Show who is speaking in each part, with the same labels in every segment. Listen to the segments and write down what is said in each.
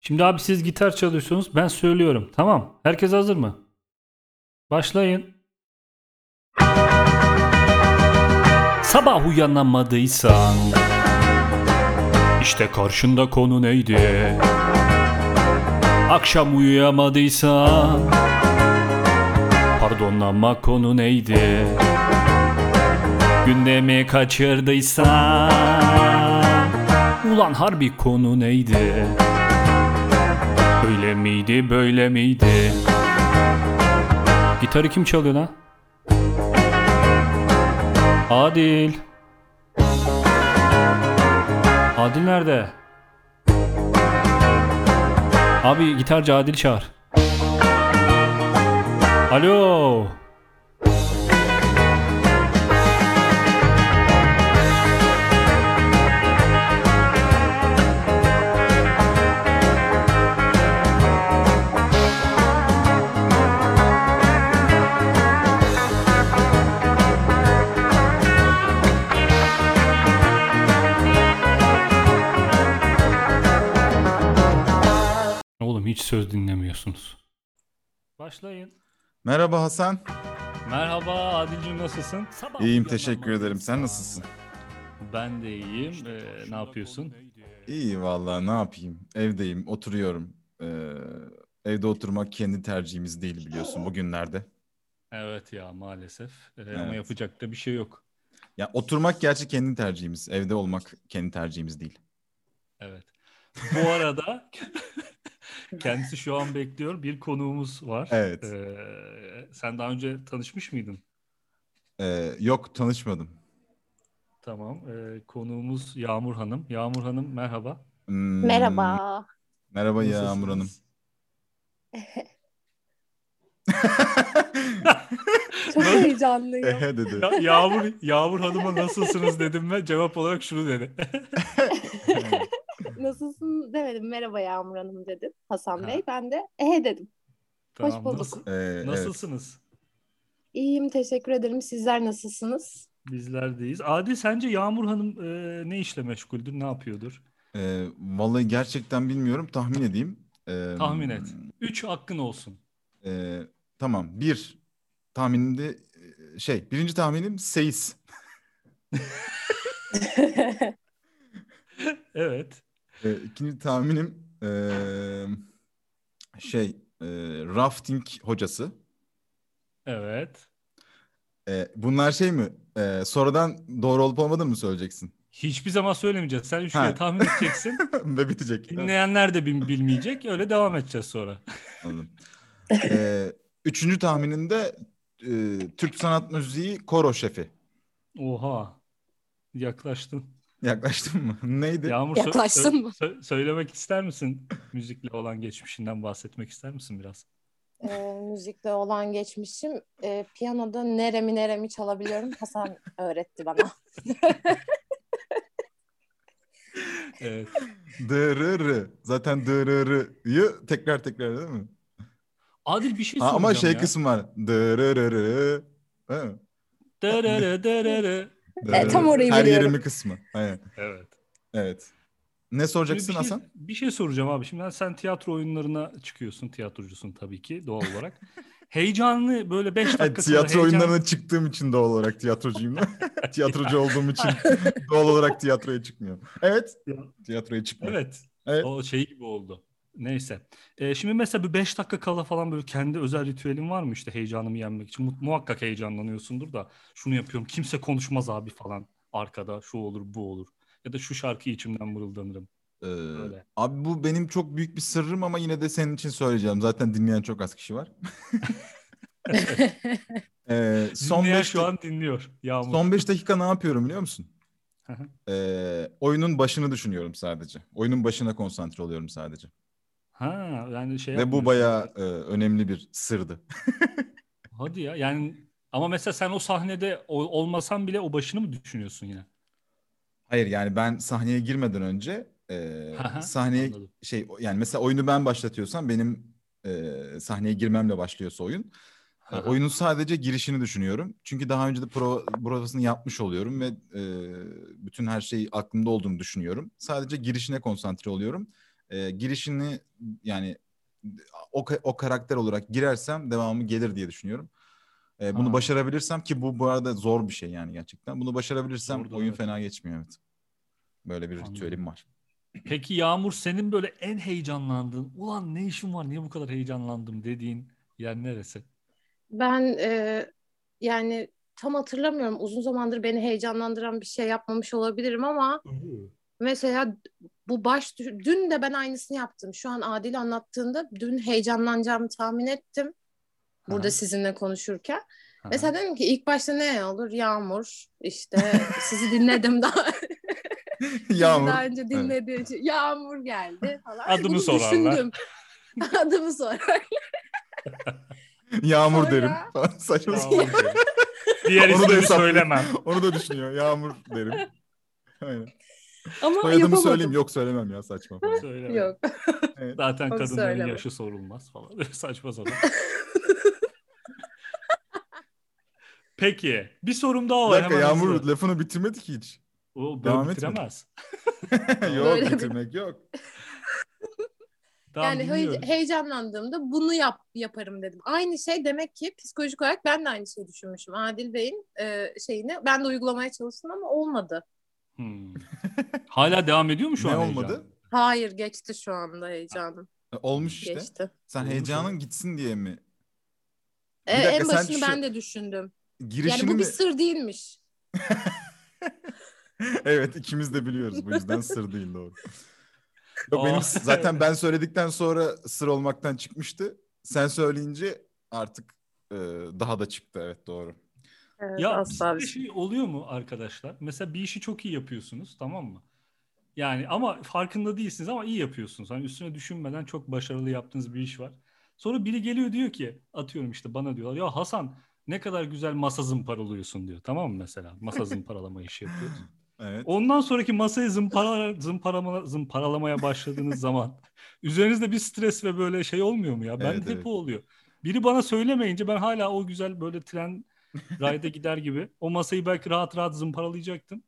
Speaker 1: Şimdi abi siz gitar çalıyorsunuz. Ben söylüyorum. Tamam. Herkes hazır mı? Başlayın. Sabah uyanamadıysan işte karşında konu neydi? Akşam uyuyamadıysan Pardon ama konu neydi? Gündemi kaçırdıysan Ulan harbi konu neydi? Öyle miydi böyle miydi? Gitarı kim çalıyor lan? Adil. Adil nerede? Abi gitarcı Adil çağır. Alo. Oğlum hiç söz dinlemiyorsunuz. Başlayın.
Speaker 2: Merhaba Hasan.
Speaker 1: Merhaba Adil'cim nasılsın? Sabah
Speaker 2: İyiyim teşekkür ederim. Sen nasılsın?
Speaker 1: Ben de iyiyim. Ee, ne yapıyorsun?
Speaker 2: İyi vallahi ne yapayım? Evdeyim, oturuyorum. Ee, evde oturmak kendi tercihimiz değil biliyorsun bugünlerde.
Speaker 1: Evet ya maalesef. Ee, Ama
Speaker 2: Evet.
Speaker 1: yapacak da bir şey yok.
Speaker 2: Ya oturmak gerçi kendi tercihimiz. Evde olmak kendi tercihimiz değil.
Speaker 1: Evet. Bu arada kendisi şu an bekliyor. Bir konuğumuz var.
Speaker 2: Evet.
Speaker 1: Ee, sen daha önce tanışmış mıydın?
Speaker 2: Ee, yok tanışmadım.
Speaker 1: Tamam. Ee, konuğumuz Yağmur Hanım. Yağmur Hanım merhaba.
Speaker 2: Hmm,
Speaker 3: Merhaba.
Speaker 2: Merhaba
Speaker 1: Nasılsınız?
Speaker 2: Yağmur Hanım.
Speaker 3: Çok heyecanlıyım.
Speaker 2: Ehe dedi.
Speaker 1: Ya- Yağmur Yağmur Hanım'a nasılsınız dedim ve cevap olarak şunu dedi.
Speaker 3: Nasılsın demedim. Merhaba Yağmur Hanım dedim. Hasan
Speaker 1: Ha.
Speaker 3: Bey. Ben de ehe dedim. Hoş bulduk.
Speaker 1: nasıl-
Speaker 2: Ee, evet.
Speaker 1: nasılsınız?
Speaker 3: İyiyim teşekkür ederim. Sizler nasılsınız?
Speaker 1: Bizlerdeyiz. Adil sence Yağmur Hanım e, ne işle meşguldür, ne yapıyordur?
Speaker 2: Ee, vallahi gerçekten bilmiyorum. Tahmin edeyim. Ee,
Speaker 1: Tahmin et. Üç hakkın olsun.
Speaker 2: Ee, tamam. Bir tahminimde e, şey birinci tahminim seyis.
Speaker 1: Evet.
Speaker 2: Ee, ikinci tahminim e, şey e, rafting hocası.
Speaker 1: Evet.
Speaker 2: E, bunlar şey mi? E, sonradan doğru olup olmadığını mı söyleyeceksin?
Speaker 1: Hiçbir zaman söylemeyeceğiz. Sen üç
Speaker 2: Ha.
Speaker 1: kere tahmin edeceksin.
Speaker 2: Ve bitecek.
Speaker 1: Dinleyenler de bil- bilmeyecek. Öyle devam edeceğiz sonra.
Speaker 2: Anladım. E, üçüncü tahminimde e, Türk sanat müziği koro şefi.
Speaker 1: Oha. Yaklaştın.
Speaker 2: Yaklaştın mı? Neydi?
Speaker 1: Yağmur sö-
Speaker 3: Yaklaştın
Speaker 1: sö-
Speaker 3: mı?
Speaker 1: sö- söylemek ister misin? Müzikle olan geçmişinden bahsetmek ister misin biraz?
Speaker 3: Ee, müzikle olan geçmişim. Ee, piyanoda neremi neremi çalabiliyorum. Hasan öğretti bana.
Speaker 1: Evet.
Speaker 2: Dırırı. Zaten dırırıyı tekrar tekrar değil mi?
Speaker 1: Adil bir şey
Speaker 2: Ha,
Speaker 1: soracağım
Speaker 2: ama şey
Speaker 1: ya.
Speaker 2: kısmı var. Dırırırı. Değil mi?
Speaker 1: Dırırı dırırı.
Speaker 3: E, tam orayı
Speaker 2: Her
Speaker 3: biliyorum.
Speaker 2: yerimi kısmı. Aynen.
Speaker 1: Evet.
Speaker 2: Evet. Ne
Speaker 1: Şimdi
Speaker 2: soracaksın
Speaker 1: bir şey,
Speaker 2: Hasan?
Speaker 1: bir şey soracağım abi. Şimdi sen tiyatro oyunlarına çıkıyorsun. Tiyatrocusun tabii ki doğal olarak. Heyecanlı böyle 5 dakika
Speaker 2: Ay,
Speaker 1: sonra
Speaker 2: tiyatro
Speaker 1: heyecan-
Speaker 2: oyunlarına çıktığım için doğal olarak tiyatrocuyum. Tiyatrocu olduğum için doğal olarak tiyatroya çıkmıyorum. Evet.
Speaker 1: Ya.
Speaker 2: Tiyatroya çıkmıyorum.
Speaker 1: Evet.
Speaker 2: Evet.
Speaker 1: O şey gibi oldu. Neyse. Ee, şimdi mesela bir 5 dakika kala falan böyle kendi özel ritüelin var mı işte heyecanımı yenmek için? Mu- muhakkak heyecanlanıyorsundur da şunu yapıyorum. Kimse konuşmaz abi falan arkada. Şu olur, bu olur. Ya da şu şarkıyı içimden mırıldanırım.
Speaker 2: Ee,
Speaker 1: Öyle.
Speaker 2: abi bu benim çok büyük bir sırrım ama yine de senin için söyleyeceğim. Zaten dinleyen çok az kişi var. Ee, son
Speaker 1: Son Dinleyen
Speaker 2: 5
Speaker 1: şu an dinliyor. Yağmur.
Speaker 2: son beş dakika ne yapıyorum biliyor musun?
Speaker 1: Hı hı.
Speaker 2: Ee, oyunun başını düşünüyorum sadece. Oyunun başına konsantre oluyorum sadece.
Speaker 1: Ha, yani şey
Speaker 2: Ve bu
Speaker 1: yapmıyorsun.
Speaker 2: bayağı e, önemli bir sırdı.
Speaker 1: Hadi ya yani ama mesela sen o sahnede o- olmasan bile o başını mı düşünüyorsun yine?
Speaker 2: Hayır yani ben sahneye girmeden önce e,
Speaker 1: Haha,
Speaker 2: sahneye
Speaker 1: anladım.
Speaker 2: şey yani mesela oyunu ben başlatıyorsam benim e, sahneye girmemle başlıyorsa oyun. e,
Speaker 1: Haha.
Speaker 2: oyunun sadece girişini düşünüyorum. Çünkü daha önce de prova, provasını yapmış oluyorum ve e, bütün her şey aklımda olduğunu düşünüyorum. Sadece girişine konsantre oluyorum. e, girişini yani o, ka- o karakter olarak girersem devamı gelir diye düşünüyorum. E, bunu
Speaker 1: Ha.
Speaker 2: başarabilirsem ki bu bu arada zor bir şey yani gerçekten. Bunu başarabilirsem
Speaker 1: Zordur,
Speaker 2: oyun
Speaker 1: evet.
Speaker 2: fena geçmiyor evet. Böyle bir
Speaker 1: Anladım.
Speaker 2: ritüelim var.
Speaker 1: Peki Yağmur senin böyle en heyecanlandığın, ulan ne işim var, niye bu kadar heyecanlandım dediğin yer neresi?
Speaker 4: Ben e, yani tam hatırlamıyorum. Uzun zamandır beni heyecanlandıran bir şey yapmamış olabilirim ama mesela bu baş dün de ben aynısını yaptım. Şu an Adil anlattığında dün heyecanlanacağımı tahmin ettim. Burada
Speaker 1: Aha.
Speaker 4: sizinle konuşurken.
Speaker 1: Aha.
Speaker 4: Mesela dedim ki ilk başta ne olur? Yağmur. işte sizi dinledim daha, sizi
Speaker 2: Yağmur.
Speaker 4: daha önce dinlediğim için. Yağmur geldi falan.
Speaker 1: Adımı
Speaker 4: Bunu
Speaker 1: sorarlar.
Speaker 4: düşündüm. Adımı sorar.
Speaker 2: Yağmur
Speaker 4: Sonra-
Speaker 2: derim. falan. Saçma
Speaker 1: Tamam,
Speaker 2: sapan.
Speaker 1: okey. Diğer
Speaker 2: Onu da
Speaker 1: ismini
Speaker 2: hesaplayayım.
Speaker 1: söylemem.
Speaker 2: Onu da düşünüyor. Yağmur derim. Aynen.
Speaker 4: Ama
Speaker 2: Soyadımı
Speaker 4: yapamadım.
Speaker 2: söyleyeyim. Yok söylemem ya saçma. falan.
Speaker 1: Söylemem.
Speaker 4: Yok.
Speaker 1: Zaten
Speaker 4: Onu
Speaker 1: kadınların
Speaker 4: söyleme.
Speaker 1: yaşı sorulmaz falan. Saçma sapan. Peki bir sorum daha
Speaker 2: Bir
Speaker 1: var.
Speaker 2: dakika
Speaker 1: hemen
Speaker 2: Yağmur
Speaker 1: hızlı.
Speaker 2: lafını bitirmedi ki hiç.
Speaker 1: O, böyle
Speaker 2: Devam etmedi.
Speaker 1: bitiremez.
Speaker 2: yok
Speaker 4: Böyle bir-
Speaker 2: bitirmek yok.
Speaker 1: Tamam,
Speaker 4: yani he-
Speaker 1: dinliyorum.
Speaker 4: heyecanlandığımda bunu yap yaparım dedim. Aynı şey demek ki psikolojik olarak ben de aynı şeyi düşünmüşüm. Adil Bey'in e, şeyini ben de uygulamaya çalıştım ama olmadı.
Speaker 1: Hmm. Hala devam ediyor mu şu
Speaker 2: ne
Speaker 1: an
Speaker 2: olmadı?
Speaker 1: heyecan?
Speaker 4: Hayır geçti şu anda heyecanım.
Speaker 2: E, Olmuş işte.
Speaker 4: Geçti.
Speaker 2: Sen
Speaker 1: Olmuş
Speaker 2: heyecanın
Speaker 1: olmuş.
Speaker 2: gitsin diye mi?
Speaker 4: E,
Speaker 2: dakika,
Speaker 4: en
Speaker 2: sen
Speaker 4: başını
Speaker 2: şu-
Speaker 4: ben de düşündüm.
Speaker 2: Girişini
Speaker 4: yani bu
Speaker 2: mi?
Speaker 4: bir sır değilmiş.
Speaker 2: evet ikimiz de biliyoruz bu yüzden sır değil doğru. Yok, benim
Speaker 1: Aa.
Speaker 2: zaten ben söyledikten sonra sır olmaktan çıkmıştı. Sen söyleyince artık e, daha da çıktı evet doğru.
Speaker 4: Evet,
Speaker 1: Ya
Speaker 4: E, asla
Speaker 1: bir
Speaker 4: bir şey.
Speaker 1: şey oluyor mu arkadaşlar? Mesela bir işi çok iyi yapıyorsunuz tamam mı? Yani ama farkında değilsiniz ama iyi yapıyorsunuz. Hani üstüne düşünmeden çok başarılı yaptığınız bir iş var. Sonra biri geliyor diyor ki atıyorum işte bana diyorlar ya Hasan ne kadar güzel masa zımparalıyorsun diyor. Tamam mı mesela? Masa zımparalama işi yapıyoruz.
Speaker 2: Evet.
Speaker 1: Ondan sonraki masayı zımpara, zımparama, zımparalamaya başladığınız zaman üzerinizde bir stres ve böyle şey olmuyor mu ya? Ben
Speaker 2: Evet,
Speaker 1: de hep
Speaker 2: evet.
Speaker 1: o oluyor. Biri bana söylemeyince ben hala o güzel böyle tren rayda gider gibi o masayı belki rahat rahat zımparalayacaktım.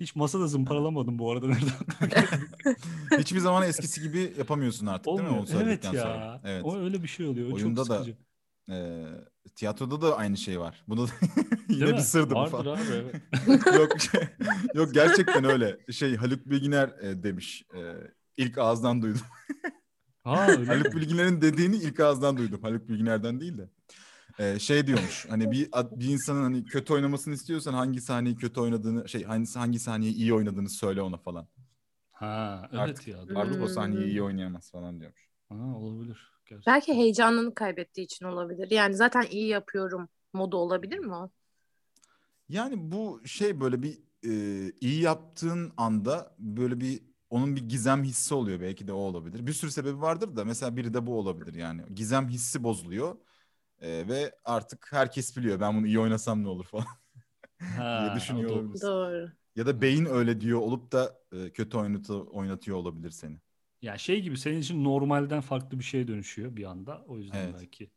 Speaker 1: Hiç masada zımparalamadım bu arada nereden?
Speaker 2: Hiçbir zaman eskisi gibi yapamıyorsun artık değil mi?
Speaker 1: Olmuyor.
Speaker 2: Onu
Speaker 1: Evet
Speaker 2: söyledikten
Speaker 1: ya.
Speaker 2: sonra. Evet.
Speaker 1: O öyle bir şey oluyor. O
Speaker 2: Oyunda da
Speaker 1: çok sıkıcı.
Speaker 2: E, tiyatroda da aynı şey var. Bunda da
Speaker 1: Değil
Speaker 2: yine
Speaker 1: mi?
Speaker 2: bir sırdı bu
Speaker 1: Vardır
Speaker 2: falan.
Speaker 1: abi evet.
Speaker 2: yok şey- yok gerçekten öyle. Şey Haluk Bilginer e, demiş. E, ilk ağızdan duydum.
Speaker 1: Ha, öyle
Speaker 2: Haluk
Speaker 1: mi?
Speaker 2: Bilginer'in dediğini ilk ağızdan duydum. Haluk Bilginer'den değil de. E, şey diyormuş. Hani bir ad- bir insanın hani kötü oynamasını istiyorsan hangi sahneyi kötü oynadığını şey hangi hangi sahneyi iyi oynadığını söyle ona falan.
Speaker 1: Ha, evet
Speaker 2: Artık-
Speaker 1: ya. doğru.
Speaker 2: Artık o
Speaker 4: Hmm.
Speaker 2: sahneyi iyi oynayamaz falan diyormuş.
Speaker 1: Ha, olabilir. Gerçekten.
Speaker 4: Belki heyecanını kaybettiği için olabilir. Yani zaten iyi yapıyorum modu olabilir mi o?
Speaker 2: Yani bu şey böyle bir e, iyi yaptığın anda böyle bir onun bir gizem hissi oluyor belki de o olabilir. Bir sürü sebebi vardır da mesela biri de bu olabilir yani. Gizem hissi bozuluyor e, ve artık herkes biliyor ben bunu iyi oynasam ne olur falan
Speaker 1: Ha,
Speaker 2: diye düşünüyor
Speaker 1: o da-
Speaker 2: olabilirsin.
Speaker 4: Doğru.
Speaker 2: Ya da beyin öyle diyor olup da e, kötü oynatı, oynatıyor olabilir seni.
Speaker 1: Ya şey gibi senin için normalden farklı bir şeye dönüşüyor bir anda. O yüzden
Speaker 2: Evet.
Speaker 1: belki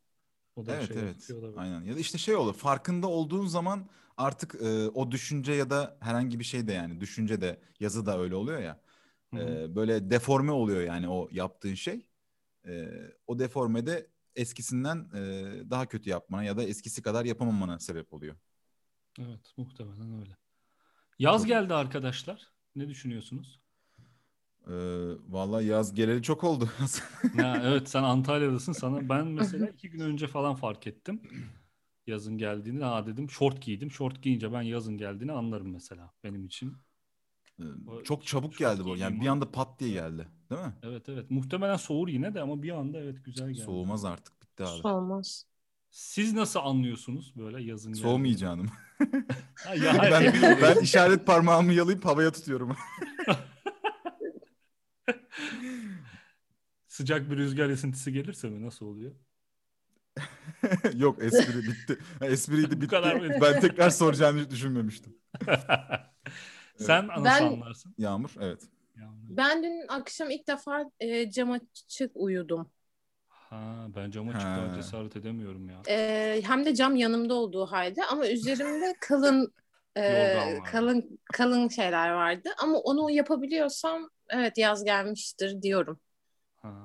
Speaker 1: o da
Speaker 2: Evet
Speaker 1: şey
Speaker 2: evet
Speaker 1: yapıyor olabilir.
Speaker 2: aynen ya da işte şey olur farkında olduğun zaman artık e, o düşünce ya da herhangi bir şey de yani düşünce de yazı da öyle oluyor ya.
Speaker 1: Hı hı.
Speaker 2: Ee, böyle deforme oluyor yani o yaptığın şey. Ee, o deforme de eskisinden e, daha kötü yapmana ya da eskisi kadar yapamamana sebep oluyor.
Speaker 1: Evet muhtemelen öyle. Yaz
Speaker 2: Çok-
Speaker 1: geldi arkadaşlar. Ne düşünüyorsunuz?
Speaker 2: Ee, vallahi yaz geleli çok oldu.
Speaker 1: Ya, evet sen Antalya'dasın sana. Ben mesela iki gün önce falan fark ettim. Yazın geldiğini. Ha dedim şort giydim. Şort giyince ben yazın geldiğini anlarım mesela benim için.
Speaker 2: Ee,
Speaker 1: O-
Speaker 2: çok çabuk
Speaker 1: çok
Speaker 2: geldi bu.
Speaker 1: iyiyim
Speaker 2: Yani bir
Speaker 1: o.
Speaker 2: anda pat diye geldi, değil mi?
Speaker 1: Evet evet. Muhtemelen soğur yine de ama bir anda evet güzel geldi.
Speaker 2: Soğumaz artık bitti abi.
Speaker 4: Olmaz.
Speaker 1: Siz nasıl anlıyorsunuz böyle yazın geldiğini?
Speaker 2: Soğumayacağım.
Speaker 1: Ha, ya,
Speaker 2: ben,
Speaker 1: hayır, emin
Speaker 2: ben
Speaker 1: oluyorum.
Speaker 2: işaret parmağımı yalayıp havaya tutuyorum.
Speaker 1: Sıcak bir rüzgar esintisi gelirse mi? Nasıl oluyor?
Speaker 2: Yok espri bitti. Ha, Espriydi
Speaker 1: Bu
Speaker 2: bitti.
Speaker 1: kadar mı?
Speaker 2: Ben tekrar soracağını hiç düşünmemiştim.
Speaker 1: Sen nasıl
Speaker 4: Ben-
Speaker 1: anlarsın?
Speaker 2: Yağmur evet.
Speaker 1: Yani-
Speaker 4: Ben dün akşam ilk defa e, cam açık uyudum.
Speaker 1: Ha, ben cama çıkmaya
Speaker 2: Ha.
Speaker 1: cesaret edemiyorum ya.
Speaker 4: E, hem de cam yanımda olduğu halde ama üzerimde kalın Ee,
Speaker 1: Yorgan var.
Speaker 4: kalın kalın şeyler vardı ama onu yapabiliyorsam evet yaz gelmiştir diyorum.
Speaker 1: Ha.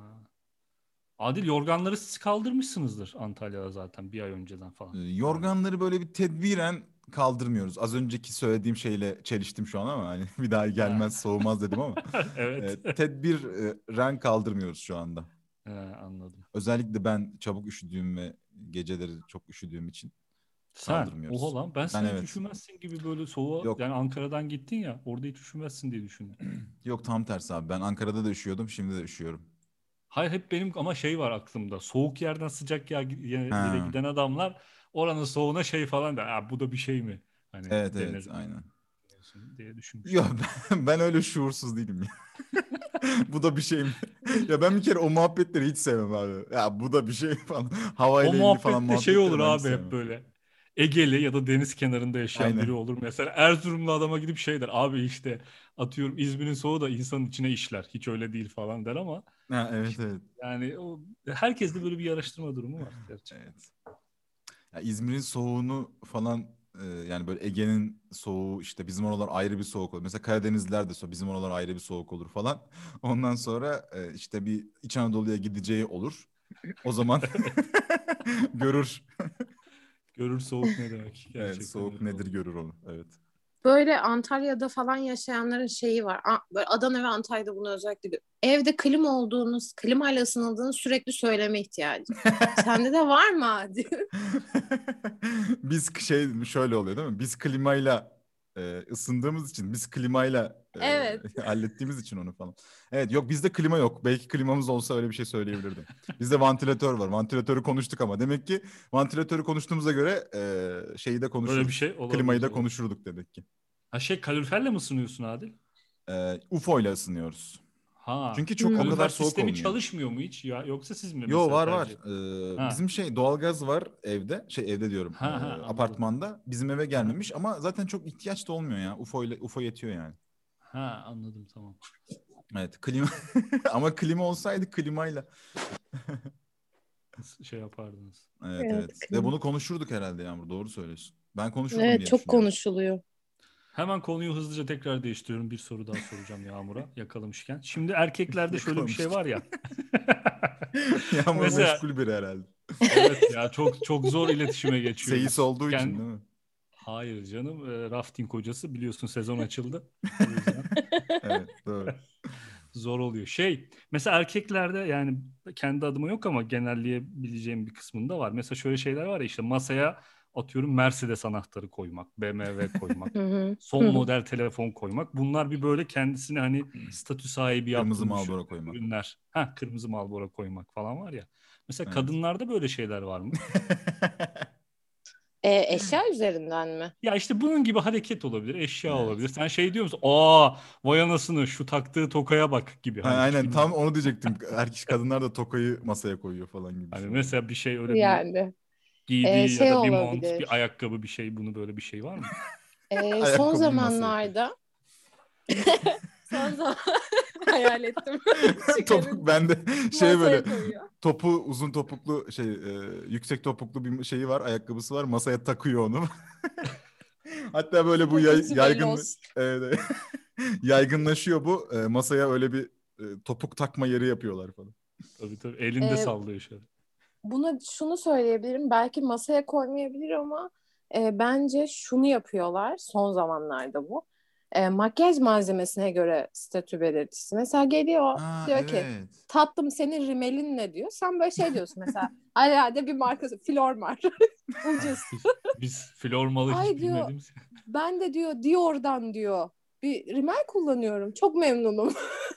Speaker 1: Adil yorganları siz kaldırmışsınızdır Antalya'da zaten bir ay önceden
Speaker 2: Ee,
Speaker 1: falan.
Speaker 2: Yorganları böyle bir tedbiren kaldırmıyoruz. Az önceki söylediğim şeyle çeliştim şu an ama hani bir daha gelmez soğumaz dedim ama
Speaker 1: evet.
Speaker 2: e, tedbiren kaldırmıyoruz şu anda.
Speaker 1: He, anladım.
Speaker 2: Özellikle ben çabuk üşüdüğüm ve geceleri çok üşüdüğüm için
Speaker 1: Sen,
Speaker 2: Kaldırmıyoruz.
Speaker 1: oha lan ben sen hiç
Speaker 2: evet.
Speaker 1: üşümezsin gibi böyle soğuğa,
Speaker 2: Yok.
Speaker 1: yani Ankara'dan gittin ya orada hiç üşümezsin diye düşündüm.
Speaker 2: Yok tam tersi abi. Ben Ankara'da da üşüyordum, şimdi de üşüyorum.
Speaker 1: Hayır hep benim ama şey var aklımda. Soğuk yerden sıcak yer-
Speaker 2: Ha.
Speaker 1: yere giden adamlar oranın soğuğuna şey falan der. "Aa, bu da bir şey mi? Hani
Speaker 2: Evet evet
Speaker 1: deniz mi
Speaker 2: aynen.
Speaker 1: diyorsun diye düşünmüş.
Speaker 2: Ya ben, ben öyle şuursuz değilim ya. bu da bir şey mi? ya ben bir kere o muhabbetleri hiç sevmem abi. Ya bu da bir şey falan. Havayla
Speaker 1: O
Speaker 2: ilgili falan
Speaker 1: muhabbette şey
Speaker 2: muhabbetleri
Speaker 1: olur
Speaker 2: ben hiç
Speaker 1: abi
Speaker 2: sevmem.
Speaker 1: hep böyle. Egeli ya da deniz kenarında yaşayan
Speaker 2: Aynen.
Speaker 1: biri olur. Mesela Erzurumlu adama gidip şey der. Abi işte atıyorum İzmir'in soğuğu da insanın içine işler. Hiç öyle değil falan der ama
Speaker 2: Ha, evet evet.
Speaker 1: yani o, herkeste böyle bir yarıştırma durumu var. gerçekten.
Speaker 2: evet. Ya İzmir'in soğuğunu falan e, yani böyle Ege'nin soğuğu işte bizim oralar ayrı bir soğuk olur. Mesela Karadenizler de soğuk bizim oralar ayrı bir soğuk olur falan. Ondan sonra e, işte bir İç Anadolu'ya gideceği olur. O zaman görür.
Speaker 1: Görür soğuk ne demek. Gerçekten
Speaker 2: Evet, soğuk
Speaker 1: öyle
Speaker 2: nedir
Speaker 1: olur.
Speaker 2: görür onu. Evet.
Speaker 4: Böyle Antalya'da falan yaşayanların şeyi var. A- Böyle Adana ve Antalya'da bunu özellikle gö- evde klima olduğunuz, klimayla ısınıldığınız sürekli söyleme ihtiyacı. Sende de var mı? Adil?
Speaker 2: biz şey şöyle oluyor değil mi? Biz klimayla e, ısındığımız için, biz klimayla e,
Speaker 4: Evet.
Speaker 2: hallettiğimiz için onu falan. Evet yok bizde klima yok. Belki klimamız olsa öyle bir şey söyleyebilirdim. Bizde vantilatör var. Vantilatörü konuştuk ama demek ki vantilatörü konuştuğumuza göre e, şeyi de konuşuruz.
Speaker 1: Böyle bir şey olabilir.
Speaker 2: klimayı da
Speaker 1: olabilir.
Speaker 2: konuşurduk demek ki.
Speaker 1: Ha şey kaloriferle mi ısınıyorsun Adil?
Speaker 2: E, UFO ile ısınıyoruz.
Speaker 1: Ha.
Speaker 2: Çünkü çok
Speaker 4: Hmm.
Speaker 2: o kadar
Speaker 1: kalorifer
Speaker 2: soğuk
Speaker 1: sistemi
Speaker 2: olmuyor.
Speaker 1: çalışmıyor mu hiç ya? Yoksa siz mi?
Speaker 2: Yo
Speaker 1: mesela
Speaker 2: var var.
Speaker 1: tercih-
Speaker 2: Ee,
Speaker 1: Ha.
Speaker 2: bizim şey doğalgaz var evde. Şey evde diyorum.
Speaker 1: Ha, ha,
Speaker 2: ee,
Speaker 1: anladım.
Speaker 2: apartmanda. Bizim eve gelmemiş ama zaten çok ihtiyaç da olmuyor ya. UFO ile UFO yetiyor yani.
Speaker 1: Ha anladım tamam.
Speaker 2: Evet klima ama klima olsaydı klimayla.
Speaker 1: Nasıl Şey yapardınız.
Speaker 2: Evet
Speaker 4: Evet,
Speaker 2: evet.
Speaker 4: klima.
Speaker 2: Ve bunu konuşurduk herhalde Yağmur. Doğru söylüyorsun. Ben konuşurdum
Speaker 4: Evet
Speaker 2: diye
Speaker 4: çok
Speaker 2: düşünüyorum.
Speaker 4: konuşuluyor.
Speaker 1: Hemen konuyu hızlıca tekrar değiştiriyorum. Bir soru daha soracağım Yağmur'a yakalamışken. Şimdi erkeklerde şöyle bir şey var ya.
Speaker 2: Yağmur
Speaker 1: Mesela-
Speaker 2: meşgul biri herhalde.
Speaker 1: evet ya çok çok zor iletişime geçiyor.
Speaker 2: Seyis olduğu için
Speaker 1: Kendi-
Speaker 2: değil mi?
Speaker 1: Hayır canım. e, rafting hocası biliyorsun sezon açıldı. O yüzden
Speaker 2: Evet doğru.
Speaker 1: zor oluyor. Şey mesela erkeklerde yani kendi adıma yok ama genelleyebileceğim bir kısmında var. Mesela şöyle şeyler var ya işte masaya atıyorum Mercedes anahtarı koymak, BMW koymak.
Speaker 4: Hı hı.
Speaker 1: son
Speaker 4: Hı.
Speaker 1: model telefon koymak. Bunlar bir böyle kendisini hani statü sahibi yaptığını
Speaker 2: Hmm. Kırmızı
Speaker 1: düşündüğü
Speaker 2: Marlboro koymak.
Speaker 1: Ürünler. Ha kırmızı Marlboro koymak falan var ya. Mesela
Speaker 2: Evet.
Speaker 1: kadınlarda böyle şeyler var mı?
Speaker 4: E, eşya üzerinden mi?
Speaker 1: ya işte bunun gibi hareket olabilir, eşya
Speaker 2: Evet.
Speaker 1: olabilir. Sen şey diyor musun? Aa, vay anasını şu taktığı tokaya bak gibi.
Speaker 2: Ha,
Speaker 1: Hani
Speaker 2: aynen
Speaker 1: kim-
Speaker 2: tam onu diyecektim. Erkek kadınlar da tokayı masaya koyuyor falan gibi. bir
Speaker 1: Hani
Speaker 2: şey.
Speaker 1: mesela bir şey öyle bir
Speaker 4: Yani.
Speaker 1: giydiği
Speaker 4: Ee, şey
Speaker 1: ya da bir mont,
Speaker 4: olabilir.
Speaker 1: bir ayakkabı bir şey bunu böyle bir şey var mı?
Speaker 4: Ee,
Speaker 2: Ayakkabıyı
Speaker 4: son
Speaker 2: masaya
Speaker 4: zamanlarda son zaman hayal ettim.
Speaker 2: Topuk ben de şey
Speaker 4: Masaya
Speaker 2: böyle
Speaker 4: koyuyor.
Speaker 2: topu uzun topuklu şey e, yüksek topuklu bir şeyi var ayakkabısı var masaya takıyor onu. Hatta böyle bu yay,
Speaker 4: Topuksu belli
Speaker 2: yaygın
Speaker 4: olsun.
Speaker 2: Evet, evet. yaygınlaşıyor bu E, masaya öyle bir e, topuk takma yeri yapıyorlar falan.
Speaker 1: tabii tabii elinde
Speaker 4: Ee,
Speaker 1: sallıyor şöyle.
Speaker 4: Buna şunu söyleyebilirim. Belki masaya koymayabilir ama e, bence şunu yapıyorlar son zamanlarda bu. E, makyaj malzemesine göre statü belirtisi. Mesela geliyor diyor ki tatlım senin rimelin ne diyor. Sen böyle şey diyorsun mesela. Herhalde bir markası Flormar. Ucuz.
Speaker 1: Biz, biz flormalı
Speaker 4: Ay
Speaker 1: hiç
Speaker 4: diyor,
Speaker 1: bilmediğimiz.
Speaker 4: Ben de diyor Dior'dan diyor bir rimel kullanıyorum. Çok memnunum.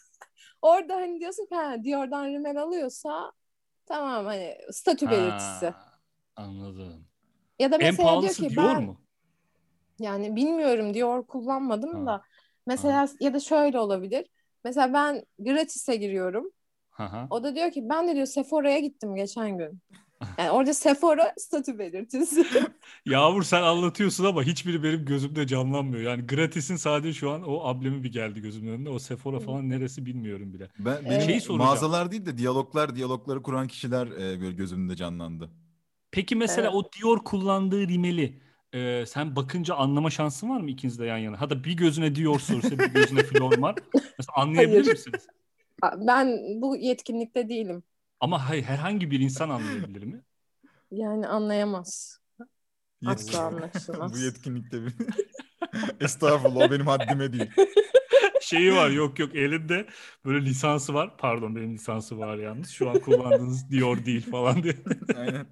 Speaker 4: Orada hani diyorsun ki ha, Dior'dan rimel alıyorsa tamam hani statü belirtisi.
Speaker 1: Ha, Anladım.
Speaker 4: Ya da
Speaker 1: En
Speaker 4: mesela diyor
Speaker 1: pahalısı
Speaker 4: ki
Speaker 1: diyor
Speaker 4: ben
Speaker 1: mu?
Speaker 4: yani bilmiyorum Dior kullanmadım
Speaker 1: Ha.
Speaker 4: da mesela ya da şöyle olabilir. Mesela ben gratis'e giriyorum.
Speaker 1: Hı hı.
Speaker 4: O da diyor ki ben de diyor Sephora'ya gittim geçen gün. Yani orada Sephora statü belirtisi.
Speaker 1: Yağmur sen anlatıyorsun ama hiçbiri benim gözümde canlanmıyor. Yani gratisin sadece şu an o ablemi bir geldi gözümün önüne. O Sephora falan neresi bilmiyorum bile.
Speaker 2: Ben
Speaker 4: Ee,
Speaker 2: benim
Speaker 1: Şeyi soracağım.
Speaker 2: mağazalar değil de diyaloglar diyalogları kuran kişiler e, böyle gözümde canlandı.
Speaker 1: Peki mesela
Speaker 4: Evet.
Speaker 1: o Dior kullandığı rimeli e, sen bakınca anlama şansın var mı ikiniz de yan yana? Hatta bir gözüne Dior sorsa bir gözüne Flor var. Mesela anlayabilir
Speaker 3: Hayır.
Speaker 1: misiniz?
Speaker 3: Ben bu yetkinlikte değilim.
Speaker 1: Ama hayır, herhangi bir insan anlayabilir mi?
Speaker 3: Yani anlayamaz.
Speaker 2: Yetkin-
Speaker 3: Asla
Speaker 2: Bu
Speaker 3: anlaşılmaz.
Speaker 2: yetkinlikte bir... Estağfurullah o benim haddime değil.
Speaker 1: Şeyi var yok yok elinde böyle lisansı var. Pardon benim lisansı var yalnız. Şu an kullandığınız Dior değil falan diye.
Speaker 2: Aynen.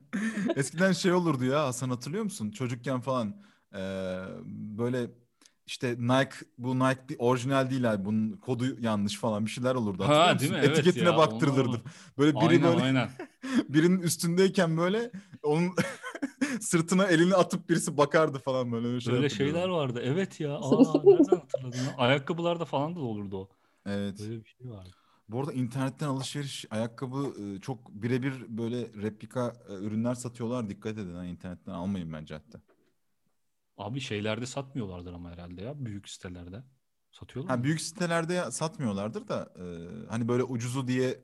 Speaker 2: Eskiden şey olurdu ya Hasan hatırlıyor musun? Çocukken falan eee, böyle işte Nike bu Nike bir orijinal değil abi bunun kodu yanlış falan bir şeyler olurdu hatırlıyor
Speaker 1: Ha,
Speaker 2: musun?
Speaker 1: değil mi? Evet
Speaker 2: Etiketine
Speaker 1: ya,
Speaker 2: baktırılırdı.
Speaker 1: onlar-
Speaker 2: Böyle biri
Speaker 1: aynen
Speaker 2: böyle Şey
Speaker 1: aynen.
Speaker 2: birinin üstündeyken böyle onun sırtına elini atıp birisi bakardı falan böyle öyle, şey
Speaker 1: Böyle
Speaker 2: hatırlıyorum.
Speaker 1: şeyler vardı. Evet ya. Aa, nereden hatırladın? ya? Ayakkabılarda falan da olurdu o.
Speaker 2: Evet.
Speaker 1: Böyle bir şey vardı.
Speaker 2: Bu arada internetten alışveriş ayakkabı e, çok birebir böyle replika e, ürünler satıyorlar. Dikkat edin ha, internetten almayın bence hatta.
Speaker 1: Abi şeylerde satmıyorlardır ama herhalde ya. Büyük sitelerde. Satıyorlar
Speaker 2: Ha
Speaker 1: mı?
Speaker 2: büyük sitelerde ya- satmıyorlardır da e, hani böyle ucuzu diye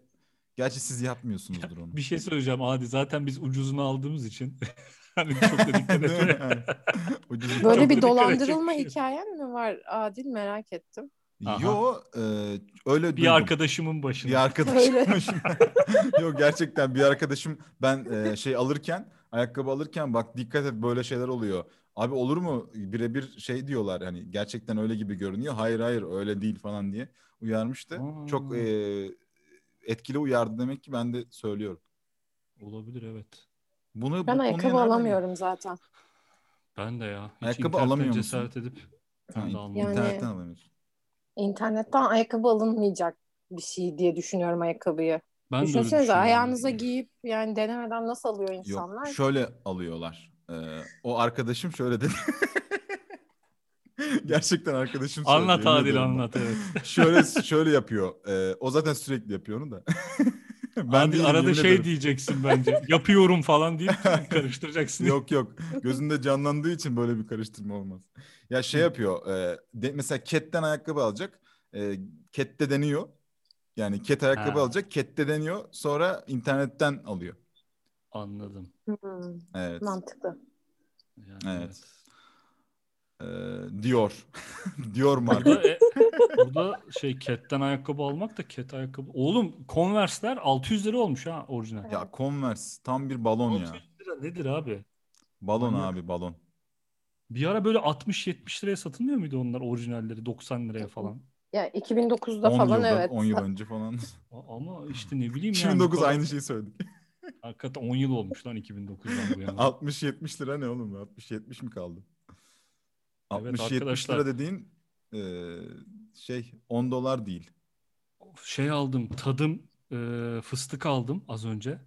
Speaker 2: gerçi siz yapmıyorsunuzdur onu.
Speaker 1: Bir şey söyleyeceğim Adi. Zaten biz ucuzunu aldığımız için. hani çok da dikkat
Speaker 2: Değil mi?
Speaker 1: etmiyor.
Speaker 2: Yani ucuzu-
Speaker 1: Çok da
Speaker 3: Böyle
Speaker 1: dikkat
Speaker 3: bir
Speaker 1: edecek
Speaker 3: dolandırılma
Speaker 1: bir şey yok.
Speaker 3: hikayen mi var Adil merak ettim.
Speaker 1: Aha.
Speaker 2: Yo e, öyle
Speaker 1: Bir
Speaker 2: duydum.
Speaker 1: arkadaşımın başına.
Speaker 2: Bir
Speaker 3: Öyle.
Speaker 2: arkadaşım. Yok gerçekten bir arkadaşım ben e, şey alırken ayakkabı alırken bak dikkat et böyle şeyler oluyor. Abi olur mu birebir şey diyorlar hani gerçekten öyle gibi görünüyor. Hayır hayır öyle değil falan diye uyarmıştı.
Speaker 1: Aa.
Speaker 2: Çok e, etkili uyardı demek ki ben de söylüyorum.
Speaker 1: Olabilir evet.
Speaker 2: Bunu bu
Speaker 3: Ben
Speaker 2: konuya
Speaker 3: ayakkabı
Speaker 2: nereden-
Speaker 3: alamıyorum zaten.
Speaker 1: Ben de ya. Hiç
Speaker 2: Ayakkabı
Speaker 1: internetten
Speaker 2: alamıyor musun?
Speaker 1: cesaret edip.
Speaker 2: Ha,
Speaker 1: Ben de
Speaker 2: in-
Speaker 1: almadım.
Speaker 3: Yani-
Speaker 2: internetten alamıyorsun.
Speaker 3: İnternetten ayakkabı alınmayacak bir şey diye düşünüyorum ayakkabıyı.
Speaker 1: Ben de öyle
Speaker 3: Düşünsenize
Speaker 1: düşünüyorum.
Speaker 3: ayağınıza giyip yani denemeden nasıl alıyor insanlar?
Speaker 2: Yok şöyle alıyorlar. E, o arkadaşım şöyle dedi. gerçekten arkadaşım söyledi,
Speaker 1: Anlat
Speaker 2: yemin
Speaker 1: Adil
Speaker 2: ederim bak.
Speaker 1: anlat evet.
Speaker 2: şöyle şöyle yapıyor. Ee, o zaten sürekli yapıyor onu da.
Speaker 1: Ben
Speaker 2: değilim,
Speaker 1: arada
Speaker 2: yemin
Speaker 1: şey
Speaker 2: ederim.
Speaker 1: diyeceksin bence. Yapıyorum falan deyip karıştıracaksın.
Speaker 2: Yok yok. Gözünde canlandığı için böyle bir karıştırma olmaz. Ya şey yapıyor. e, de- mesela Ket'ten ayakkabı alacak. E, Ket'te deniyor. Yani Ket ayakkabı
Speaker 1: Ha.
Speaker 2: alacak. Ket'te deniyor. Sonra internetten alıyor.
Speaker 1: Anladım.
Speaker 3: Hmm,
Speaker 2: Evet.
Speaker 3: mantıklı.
Speaker 1: Yani
Speaker 2: Evet. Ee, diyor. diyor marka.
Speaker 1: Burada, e, burada şey ketten ayakkabı almak da ket ayakkabı. Oğlum Converse'ler 600 lira olmuş ha orijinal.
Speaker 2: ya Converse tam bir balon ya.
Speaker 1: 600 lira nedir abi?
Speaker 2: Balon
Speaker 1: Manyak.
Speaker 2: abi balon.
Speaker 1: Bir ara böyle 60-70 liraya satılmıyor muydu onlar orijinalleri 90 liraya falan?
Speaker 3: Ya 2009'da
Speaker 2: 10
Speaker 3: falan
Speaker 2: yıldan,
Speaker 3: evet.
Speaker 2: 10 yıl önce falan.
Speaker 1: A- Ama işte ne bileyim yani. bu
Speaker 2: 2009
Speaker 1: kadar-
Speaker 2: aynı şey. şeyi söyledik.
Speaker 1: Hakikaten 10 yıl olmuş lan 2009'dan bu yana.
Speaker 2: 60-70 lira ne oğlum? 60-70 mi kaldı?
Speaker 1: Evet
Speaker 2: 60-70
Speaker 1: arkadaşlar.
Speaker 2: lira dediğin eee, şey 10 dolar değil.
Speaker 1: Şey aldım tadım e, fıstık aldım az önce.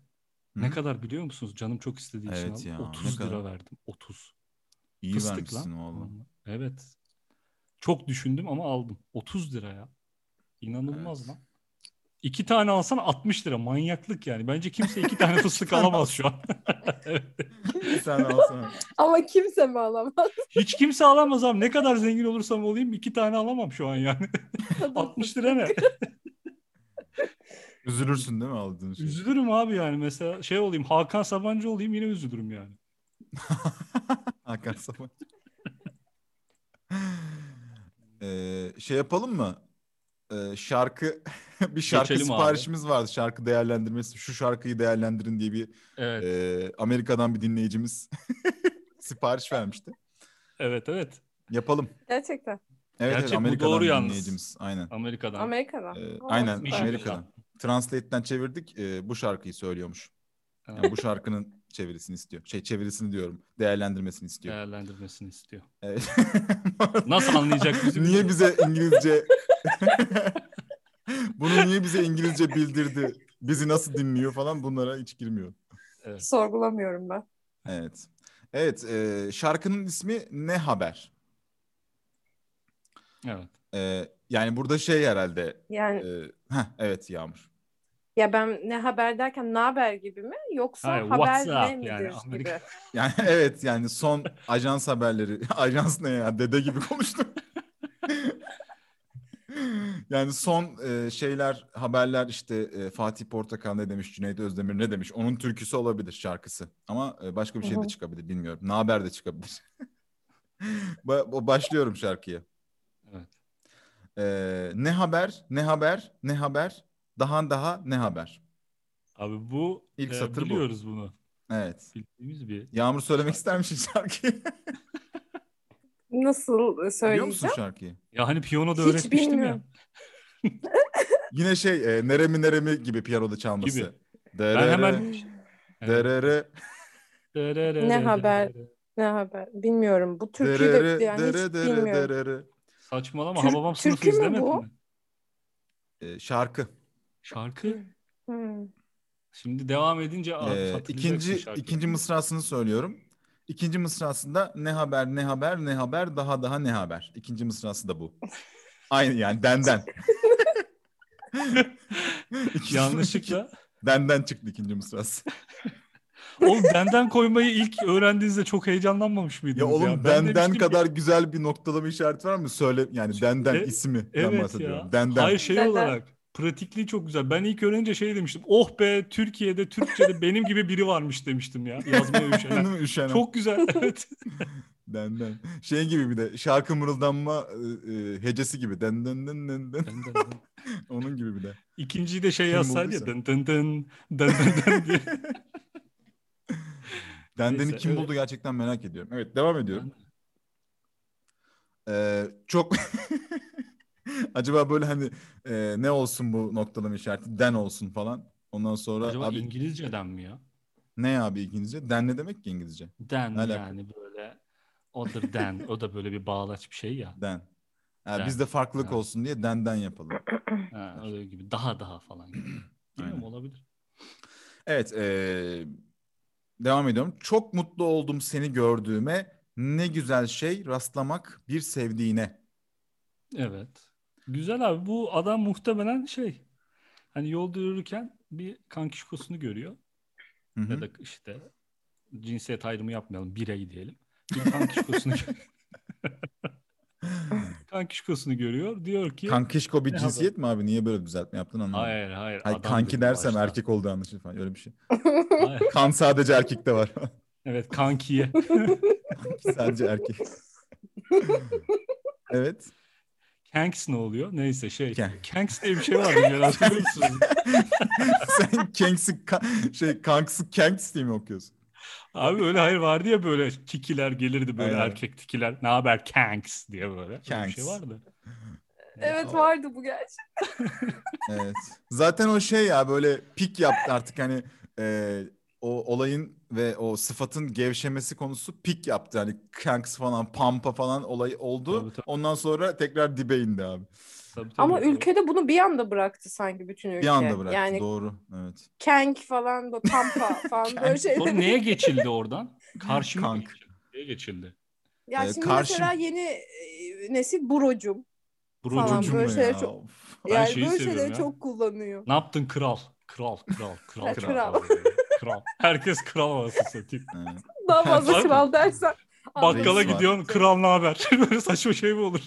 Speaker 1: Ne
Speaker 2: Hı?
Speaker 1: kadar biliyor musunuz? Canım çok istediği için
Speaker 2: Evet
Speaker 1: aldım.
Speaker 2: ya, ne
Speaker 1: 30 lira
Speaker 2: kadar?
Speaker 1: verdim. 30.
Speaker 2: İyi
Speaker 1: Fıstık
Speaker 2: vermişsin
Speaker 1: lan.
Speaker 2: oğlum.
Speaker 1: Evet. Çok düşündüm ama aldım. 30 lira ya. İnanılmaz
Speaker 2: Evet.
Speaker 1: lan. İki tane alsan 60 lira. Manyaklık yani. Bence kimse iki tane fıstık
Speaker 2: tane
Speaker 1: alamaz şu an. Evet.
Speaker 2: Bir tane alsana.
Speaker 3: Ama kimse mi alamaz?
Speaker 1: Hiç kimse alamaz abi. Ne kadar zengin olursam olayım iki tane alamam şu an yani. 60 lira ne?
Speaker 2: Üzülürsün değil mi aldığın şey?
Speaker 1: Üzülürüm abi yani. Mesela şey olayım Hakan Sabancı olayım yine üzülürüm yani.
Speaker 2: Hakan Sabancı. Eee, şey yapalım mı? Eee, şarkı bir şarkı
Speaker 1: Geçelim abi.
Speaker 2: siparişimiz vardı. Şarkı değerlendirmesi. Şu şarkıyı değerlendirin diye bir
Speaker 1: Evet.
Speaker 2: eee, Amerika'dan bir dinleyicimiz sipariş vermişti.
Speaker 1: Evet evet.
Speaker 2: Yapalım.
Speaker 3: Gerçekten.
Speaker 2: Evet,
Speaker 1: Gerçek
Speaker 2: evet
Speaker 1: bu
Speaker 2: Amerika'dan
Speaker 1: doğru
Speaker 2: bir
Speaker 1: yalnız.
Speaker 2: dinleyicimiz. Aynen.
Speaker 1: Amerika'dan.
Speaker 3: Amerika'dan.
Speaker 2: Ee,
Speaker 3: Aa,
Speaker 2: aynen
Speaker 1: süper.
Speaker 2: Amerika'dan. Translate'den çevirdik. ee, bu şarkıyı söylüyormuş.
Speaker 1: Ha,
Speaker 2: Yani bu şarkının çevirisini istiyor. Şey çevirisini diyorum. Değerlendirmesini istiyor.
Speaker 1: değerlendirmesini istiyor.
Speaker 2: Evet.
Speaker 1: Nasıl anlayacak bizi?
Speaker 2: niye bize İngilizce Bunu niye bize İngilizce bildirdi? Bizi nasıl dinliyor falan bunlara hiç girmiyor.
Speaker 3: Sorgulamıyorum ben.
Speaker 2: Evet. Evet, ee, şarkının ismi Ne Haber?
Speaker 1: Evet.
Speaker 2: Ee, yani burada şey herhalde.
Speaker 3: Yani
Speaker 2: ee, heh, evet Yağmur.
Speaker 3: ya ben ne haber derken ne haber gibi mi? Yoksa
Speaker 1: Hayır,
Speaker 3: haber
Speaker 1: WhatsApp
Speaker 3: ne midir
Speaker 1: yani,
Speaker 3: gibi?
Speaker 1: Amerika-
Speaker 2: Yani evet yani son ajans haberleri. Ajans ne ya? Dede gibi konuştum. yani son e, şeyler, haberler işte e, Fatih Portakal ne demiş, Cüneyt Özdemir ne demiş. Onun türküsü olabilir şarkısı. Ama e, başka bir şey
Speaker 3: Hı
Speaker 2: de
Speaker 3: hı.
Speaker 2: çıkabilir bilmiyorum. Ne haber de çıkabilir. Ba- başlıyorum şarkıya.
Speaker 1: Evet.
Speaker 2: Ee, ne haber, ne haber, ne haber, daha daha ne haber.
Speaker 1: Abi bu
Speaker 2: İlk
Speaker 1: e,
Speaker 2: satır bu.
Speaker 1: biliyoruz bunu.
Speaker 2: Evet.
Speaker 1: Bildiğimiz bir.
Speaker 2: Yağmur söylemek ister misin şarkıyı?
Speaker 4: Nasıl e,
Speaker 2: Biliyor musun
Speaker 4: söyleyeceğim?
Speaker 2: şarkıyı?
Speaker 1: Ya hani piyano da
Speaker 4: Hiç
Speaker 1: öğretmiştim
Speaker 4: bilmiyorum.
Speaker 1: ya.
Speaker 2: Yine şey e, neremi neremi gibi piyanoda çalması.
Speaker 1: Gibi.
Speaker 2: Derere,
Speaker 1: Ben hemen
Speaker 4: Hmm.
Speaker 2: derere,
Speaker 1: Dererere,
Speaker 4: Ne haber?
Speaker 1: dererere.
Speaker 4: Ne haber? Bilmiyorum. Bu türküyü
Speaker 2: derere,
Speaker 4: de yani hiç
Speaker 2: dere, dere,
Speaker 4: bilmiyorum.
Speaker 2: derere.
Speaker 1: Saçmalama
Speaker 4: Tür-
Speaker 1: Hababam
Speaker 4: türkü
Speaker 1: sınıfı
Speaker 4: mü
Speaker 1: izlemedin
Speaker 4: bu?
Speaker 1: mi?
Speaker 2: Ee, şarkı.
Speaker 1: Şarkı.
Speaker 4: Hmm.
Speaker 1: Şimdi devam edince abi
Speaker 2: Ee,
Speaker 1: hatırlayacaksın
Speaker 2: ikinci
Speaker 1: şarkıyı.
Speaker 2: ikinci mısrasını söylüyorum. İkinci mısrasında ne haber ne haber ne haber daha daha ne haber. İkinci mısrası da bu. Aynı yani denden. İkinci-
Speaker 1: Yanlışlıkla.
Speaker 2: Denden çıktı ikinci mısrası.
Speaker 1: oğlum benden koymayı ilk öğrendiğinizde çok heyecanlanmamış
Speaker 2: Ya
Speaker 1: mıydınız ya? Ben
Speaker 2: oğlum denden
Speaker 1: demiştim ki-
Speaker 2: kadar güzel bir noktalama işareti var mı? Söyle yani denden
Speaker 1: E-
Speaker 2: ismi
Speaker 1: Evet
Speaker 2: bahsediyorum.
Speaker 1: ya.
Speaker 2: Denden.
Speaker 1: Hayır şey
Speaker 4: Denden.
Speaker 1: olarak. Pratikliği çok güzel. Ben ilk öğrenince şey demiştim. Oh be Türkiye'de Türkçe'de benim gibi biri varmış demiştim ya. Yazmaya
Speaker 2: Değil
Speaker 1: üşenen.
Speaker 2: mi? Üşenen.
Speaker 1: çok güzel. Evet.
Speaker 2: Denden. Şey gibi bir de şarkı mırıldanma e, e, hecesi gibi. Denden den den den. Onun gibi bir de.
Speaker 1: İkinciyi de şey
Speaker 2: Kim
Speaker 1: yazsaydı ya.
Speaker 2: bulduysa.
Speaker 1: Dın dın dın. Dın dın dın diye.
Speaker 2: Dendeni
Speaker 1: Neyse,
Speaker 2: kim
Speaker 1: evet.
Speaker 2: buldu gerçekten merak ediyorum. Evet devam ediyorum. Ee, çok acaba böyle hani e, ne olsun bu noktalama işareti? Den olsun falan. Ondan sonra
Speaker 1: Acaba
Speaker 2: abi
Speaker 1: İngilizceden mi ya?
Speaker 2: ne abi İngilizce? Den ne demek ki İngilizce?
Speaker 1: Den
Speaker 2: Ne alaka?
Speaker 1: yani böyle. Odur den. O da böyle bir bağlaç bir şey ya.
Speaker 2: Den. Ha,
Speaker 1: Den.
Speaker 2: Biz de farklılık
Speaker 1: Ha.
Speaker 2: olsun diye denden yapalım.
Speaker 1: Ha, öyle gibi. Daha daha falan gibi. Bilmiyorum
Speaker 2: Aynen.
Speaker 1: olabilir.
Speaker 2: Evet, eee, devam ediyorum. Çok mutlu oldum seni gördüğüme. Ne güzel şey rastlamak bir sevdiğine.
Speaker 1: Evet. Güzel abi. Bu adam muhtemelen şey. Hani yolda yürürken bir kankişkosunu görüyor.
Speaker 2: Hı hı.
Speaker 1: Ya da işte cinsiyet ayrımı yapmayalım. Birey diyelim. Bir kankişkosunu, kankişkosunu görüyor. Diyor ki
Speaker 2: Kankişko bir
Speaker 1: Ne
Speaker 2: cinsiyet mi abi? Niye böyle bir düzeltme yaptın anlamadım.
Speaker 1: hayır hayır.
Speaker 2: Hayır,
Speaker 1: adam
Speaker 2: kanki
Speaker 1: dedim
Speaker 2: dersem
Speaker 1: başta.
Speaker 2: erkek olduğu anlaşılır falan. Öyle bir şey.
Speaker 1: Hayır.
Speaker 2: Kan sadece erkekte var.
Speaker 1: Evet kankiye.
Speaker 2: sadece erkek. evet.
Speaker 1: Kanks ne oluyor? Neyse şey.
Speaker 2: Kank.
Speaker 1: Kanks diye bir şey vardı. Ben hatırlıyor musunuz?
Speaker 2: Sen Kenks'i ka- şey Kanks'ı Kenks diye mi okuyorsun?
Speaker 1: Abi öyle hayır vardı ya böyle kikiler gelirdi böyle
Speaker 2: Aynen.
Speaker 1: erkek tikiler. Ne haber kanks diye böyle. Öyle Bir şey
Speaker 2: Kanks.
Speaker 1: vardı.
Speaker 4: Evet vardı bu gerçek.
Speaker 2: Evet. Zaten o şey ya böyle pik yaptı artık hani e, o olayın ve o sıfatın gevşemesi konusu pik yaptı. Hani kanks falan pampa falan olay oldu.
Speaker 1: Tabii, tabii.
Speaker 2: Ondan sonra tekrar dibe indi abi.
Speaker 1: Tabii, tabii.
Speaker 4: Ama ülkede bunu bir anda bıraktı sanki bütün ülke.
Speaker 2: Bir anda bıraktı
Speaker 4: Yani
Speaker 2: doğru. Evet.
Speaker 4: Kenk falan, böyle Pampa falan
Speaker 2: Kenk.
Speaker 4: böyle şeyler.
Speaker 1: Sonra neye geçildi oradan? Karşı mı
Speaker 2: Kank.
Speaker 1: geçildi? Neye geçildi?
Speaker 4: Ya
Speaker 2: Ee,
Speaker 4: şimdi
Speaker 2: karşı-
Speaker 4: mesela yeni e, nesil brocum. Falan
Speaker 1: Brocum.
Speaker 4: böyle
Speaker 2: Ucum
Speaker 4: şeyler
Speaker 2: ya,
Speaker 4: çok-
Speaker 2: of.
Speaker 1: Ben
Speaker 4: yani
Speaker 1: şeyi
Speaker 4: böyle
Speaker 1: seviyorum
Speaker 4: şeyleri
Speaker 1: ya.
Speaker 4: çok kullanıyor.
Speaker 1: Ne yaptın kral? Kral, kral, kral,
Speaker 4: Ha,
Speaker 1: kral.
Speaker 4: kral.
Speaker 1: Kral. kral. Herkes kral arası satayım.
Speaker 2: Evet.
Speaker 4: Daha fazla
Speaker 1: Var mı?
Speaker 4: kral dersen.
Speaker 1: Bakkala
Speaker 2: Reis var.
Speaker 1: gidiyorsun, kral ne haber? Böyle saçma şey mi olur?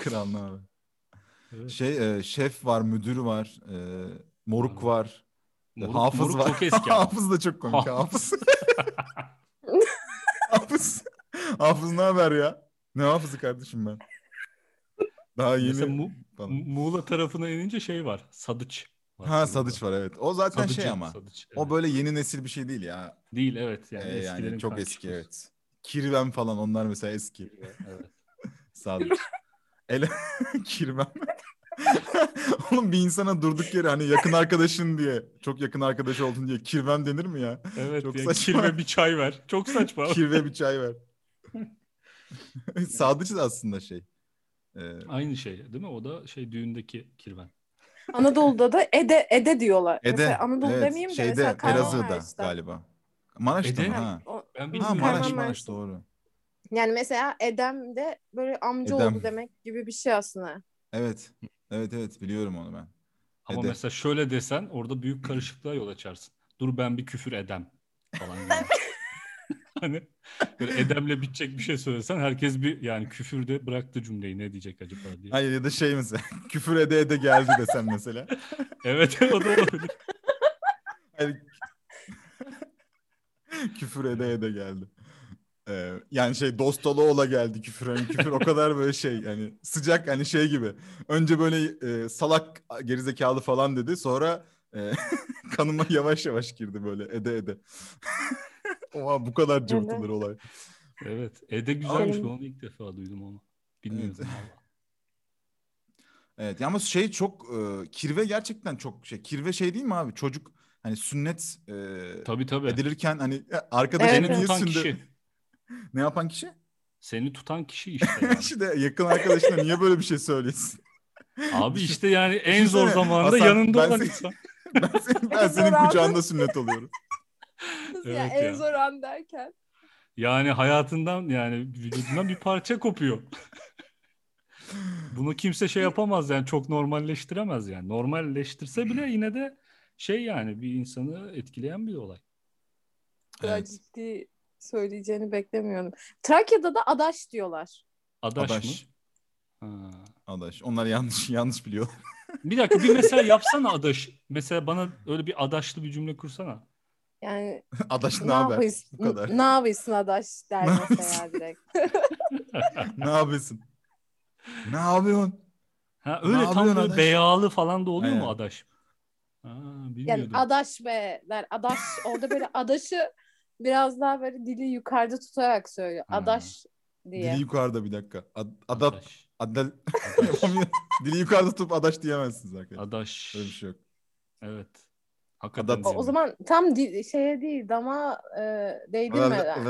Speaker 2: Kral ne abi.
Speaker 1: Evet.
Speaker 2: Şey e, şef var, müdür var, e, moruk
Speaker 1: Abi.
Speaker 2: var,
Speaker 1: Moruk-
Speaker 2: hafız
Speaker 1: moruk
Speaker 2: var.
Speaker 1: çok eski ama.
Speaker 2: hafız da çok komik. Hafız. hafız. Hafız ne haber ya? Ne hafızı kardeşim ben? Daha yeni
Speaker 1: Mesela Mu-
Speaker 2: falan.
Speaker 1: Muğla tarafına inince şey var. Sadıç. Var
Speaker 2: Ha
Speaker 1: Muğla.
Speaker 2: Sadıç var evet. O zaten
Speaker 1: Sadıcı,
Speaker 2: şey ama.
Speaker 1: Sadıç, evet.
Speaker 2: O böyle yeni nesil bir şey değil ya.
Speaker 1: Değil evet. Yani,
Speaker 2: Ee,
Speaker 1: eskilerin
Speaker 2: yani çok
Speaker 1: kankişkosu.
Speaker 2: eski evet. Kirven falan onlar mesela eski.
Speaker 1: Evet.
Speaker 2: Sadıç. Ele kirven. Oğlum bir insana durduk yere hani yakın arkadaşın diye, çok yakın arkadaş oldun diye kirven denir mi ya?
Speaker 1: Evet
Speaker 2: Çok
Speaker 1: ya,
Speaker 2: saçma.
Speaker 1: kirve bir çay ver. Çok saçma.
Speaker 2: Kirve bir çay ver. Sadıç da aslında şey. Ee,
Speaker 1: Aynı şey değil mi? O da şey düğündeki kirven.
Speaker 4: Anadolu'da da Ede Ede diyorlar.
Speaker 2: Ede.
Speaker 4: Mesela Anadolu
Speaker 2: evet,
Speaker 4: demeyeyim de
Speaker 2: şeyde,
Speaker 4: mesela
Speaker 2: Elazığ'da
Speaker 4: Kahramanmaraş'ta.
Speaker 2: galiba. Maraş'ta
Speaker 1: Ede.
Speaker 2: mı? Ha.
Speaker 4: O-
Speaker 1: Ben
Speaker 2: ha
Speaker 1: bilmiyorum.
Speaker 2: Maraş,
Speaker 4: Kahramanmaraş.
Speaker 2: Maraş doğru.
Speaker 4: Yani mesela Edem de böyle amca
Speaker 2: Edem.
Speaker 4: oldu demek gibi bir şey aslında.
Speaker 2: Evet. Evet evet biliyorum onu ben.
Speaker 1: Ama
Speaker 2: Ede.
Speaker 1: mesela şöyle desen orada büyük karışıklığa yol açarsın. Dur ben bir küfür edem falan gibi. hani böyle edemle bitecek bir şey söylesen herkes bir yani küfürde bıraktı cümleyi ne diyecek acaba diye.
Speaker 2: Hayır ya da şey mesela küfür ede ede geldi desem mesela.
Speaker 1: Evet o da olabilir.
Speaker 2: Hayır. küfür ede ede geldi. Ee, yani şey Dostaloğlu'la geldi küfür. Yani küfür o kadar böyle şey yani sıcak hani şey gibi. Önce böyle e, salak gerizekalı falan dedi. Sonra e, kanıma yavaş yavaş girdi böyle ede ede. Oha bu kadar cıvıtılır olay.
Speaker 1: Evet. Ede güzelmiş. Ben onu ilk defa duydum onu. Bilmiyordum
Speaker 2: Evet.
Speaker 1: valla.
Speaker 2: Evet ya ama şey çok e, kirve gerçekten çok şey. Kirve şey değil mi abi? Çocuk hani sünnet e,
Speaker 1: Tabii tabii.
Speaker 2: edilirken hani "Ya, arkada
Speaker 4: Evet,
Speaker 2: seni
Speaker 1: Seni tutan
Speaker 2: niye sündü?
Speaker 1: kişi.
Speaker 2: Ne yapan kişi?
Speaker 1: Seni tutan kişi işte. yani.
Speaker 2: işte yakın arkadaşına niye böyle bir şey söylesin?
Speaker 1: Abi işte yani en zor
Speaker 2: Düşünsene,
Speaker 1: zamanda
Speaker 2: Hasan,
Speaker 1: yanında
Speaker 2: ben
Speaker 1: olan
Speaker 2: seni-
Speaker 1: insan.
Speaker 2: Ben senin, ben
Speaker 4: En
Speaker 2: senin
Speaker 4: zor
Speaker 2: kucağında sünnet oluyorum.
Speaker 4: Kız ya,
Speaker 1: Evet
Speaker 4: en
Speaker 1: ya.
Speaker 4: zor an derken.
Speaker 1: Yani hayatından yani vücudundan bir parça kopuyor. Bunu kimse şey yapamaz yani çok normalleştiremez yani. Normalleştirse bile yine de şey yani bir insanı etkileyen bir olay.
Speaker 4: Bu kadar
Speaker 2: Evet.
Speaker 4: ciddi söyleyeceğini beklemiyordum. Trakya'da da adaş diyorlar.
Speaker 1: Adaş,
Speaker 2: Adaş.
Speaker 1: mı? Ha.
Speaker 2: Adaş. Onlar yanlış yanlış biliyor.
Speaker 1: Bir dakika bir mesela yapsana adaş. Mesela bana öyle bir adaşlı bir cümle kursana.
Speaker 4: Yani
Speaker 2: Adaş ne
Speaker 4: ne
Speaker 2: haber? Bu
Speaker 4: yapıyorsun?
Speaker 2: kadar.
Speaker 4: Ne yapıyorsun adaş der
Speaker 2: Ne
Speaker 4: mesela
Speaker 2: yapıyorsun?
Speaker 4: direkt.
Speaker 2: ne yapıyorsun? Ne yapıyorsun?
Speaker 1: Ha
Speaker 2: Ne
Speaker 1: öyle tam
Speaker 2: yapıyorsun
Speaker 1: böyle
Speaker 2: adaş?
Speaker 1: beyalı falan da oluyor mu
Speaker 2: Aynen.
Speaker 1: adaş? Ha,
Speaker 4: Yani
Speaker 1: bilmiyordum.
Speaker 4: adaş be der. Adaş orada böyle adaşı biraz daha böyle dili yukarıda tutarak söylüyor.
Speaker 1: Ha.
Speaker 4: Adaş diye.
Speaker 2: Hmm. Dili yukarıda bir dakika. Ad, adat.
Speaker 1: Adaş.
Speaker 2: Adel.
Speaker 1: Adaş.
Speaker 2: Yapamıyorum. Dili yukarıda tutup adaş diyemezsiniz arkadaşlar.
Speaker 1: Adaş.
Speaker 2: Öyle bir şey yok.
Speaker 1: Evet. Hakikaten
Speaker 2: Adapt-
Speaker 4: O,
Speaker 1: diyemem.
Speaker 4: o zaman tam di- şeye değil dama e, değdirmeden.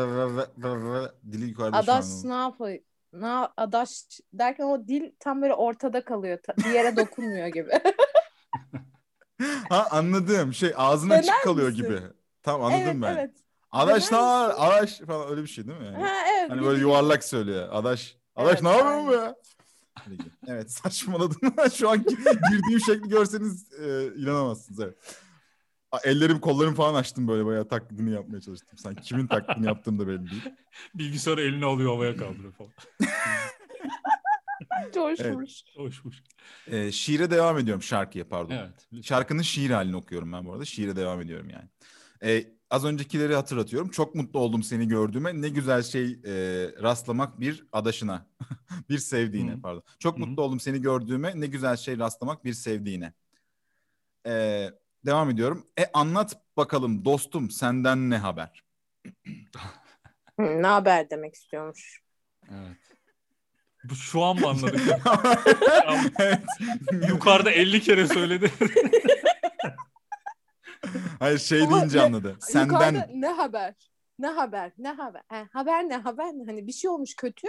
Speaker 2: Dili yukarıda şu an.
Speaker 4: Adaş ne yapıyor? Na, adaş derken o dil tam böyle ortada kalıyor. Ta- bir yere dokunmuyor gibi.
Speaker 2: Ha anladım. Şey ağzına
Speaker 4: Döner
Speaker 2: açık kalıyor
Speaker 4: misin?
Speaker 2: gibi. Tamam anladım ben.
Speaker 4: evet evet.
Speaker 2: Adaş ne
Speaker 4: Döner
Speaker 2: var? Adaş falan öyle bir şey değil mi? Yani?
Speaker 4: Ha, evet.
Speaker 2: Hani
Speaker 4: bir
Speaker 2: böyle
Speaker 4: dil-
Speaker 2: yuvarlak söylüyor. Adaş. Adaş
Speaker 4: Evet,
Speaker 2: ne yapıyorsun
Speaker 4: aynen.
Speaker 2: bu ya? Öyle gibi. Evet saçmaladım. Şu an girdiğim şekli görseniz e, inanamazsınız. Evet. A, Ellerim kollarım falan açtım böyle bayağı taklidini yapmaya çalıştım. Sanki kimin taklidini yaptığım da belli değil.
Speaker 1: Bilgisayarı eline alıyor havaya kaldırıyor falan.
Speaker 4: coşmuş.
Speaker 1: Hoşmuş.
Speaker 2: E, şiire devam ediyorum şarkıya pardon.
Speaker 1: Evet.
Speaker 2: Şarkının şiir halini okuyorum ben bu arada. Şiire devam ediyorum yani. Ee, az öncekileri hatırlatıyorum. Çok mutlu oldum seni gördüğüme. Ne güzel şey e, rastlamak bir adaşına. bir sevdiğine
Speaker 1: Hı.
Speaker 2: pardon. Çok
Speaker 1: Hı hı.
Speaker 2: mutlu oldum seni gördüğüme. Ne güzel şey rastlamak bir sevdiğine. Ee, devam ediyorum. E anlat bakalım dostum senden ne haber?
Speaker 4: Hı, Ne haber demek istiyormuş.
Speaker 1: Evet. Bu şu an mı anladık?
Speaker 2: evet.
Speaker 1: Yukarıda 50 kere söyledi.
Speaker 2: Hayır şey
Speaker 4: Ama
Speaker 2: deyince
Speaker 4: ne-
Speaker 2: anladı. Senden
Speaker 4: Yukarıda ne haber? Ne haber? Ne haber? Ha, haber ne haber ne? Hani bir şey olmuş kötü.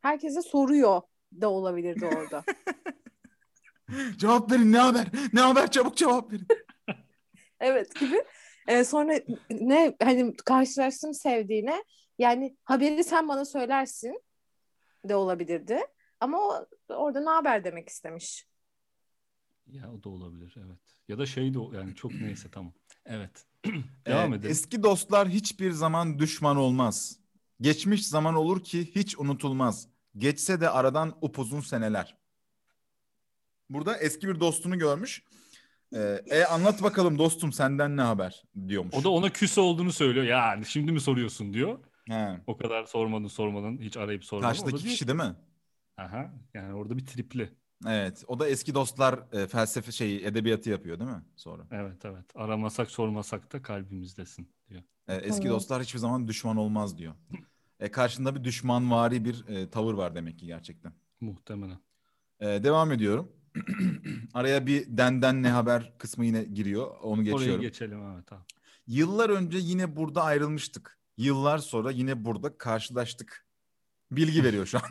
Speaker 4: Herkese soruyor da olabilirdi orada.
Speaker 2: cevap verin ne haber? Ne haber çabuk cevap verin.
Speaker 4: evet gibi. Ee, sonra ne hani karşılaştım sevdiğine. Yani haberi sen bana söylersin de olabilirdi. Ama o, orada ne haber demek istemiş.
Speaker 1: ya o da olabilir evet. Ya da şey de o- yani çok neyse tamam. Evet.
Speaker 2: Ee,
Speaker 1: Devam edelim.
Speaker 2: Eski dostlar hiçbir zaman düşman olmaz. Geçmiş zaman olur ki hiç unutulmaz. Geçse de aradan upuzun seneler. Burada eski bir dostunu görmüş. Ee, e anlat bakalım dostum senden ne haber diyormuş.
Speaker 1: o da ona küs olduğunu söylüyor. Yani şimdi mi soruyorsun diyor.
Speaker 2: He,
Speaker 1: O kadar sormadın sormadın hiç arayıp sormadın. O da
Speaker 2: karşıdaki
Speaker 1: diyor
Speaker 2: kişi
Speaker 1: ki-
Speaker 2: değil mi?
Speaker 1: Aha, yani orada bir tripli.
Speaker 2: Evet. O da eski dostlar e, felsefe şeyi edebiyatı yapıyor değil mi? Sonra.
Speaker 1: Evet evet. Aramasak sormasak da kalbimizdesin diyor.
Speaker 2: E, eski
Speaker 4: Evet.
Speaker 2: dostlar hiçbir zaman düşman olmaz diyor. E, karşında bir düşmanvari bir e, tavır var demek ki gerçekten.
Speaker 1: Muhtemelen.
Speaker 2: Ee, devam ediyorum. Araya bir denden ne haber kısmı yine giriyor. Onu
Speaker 1: Oraya
Speaker 2: geçiyorum.
Speaker 1: geçelim evet abi.
Speaker 2: Yıllar önce yine burada ayrılmıştık. Yıllar sonra yine burada karşılaştık. Bilgi veriyor şu an.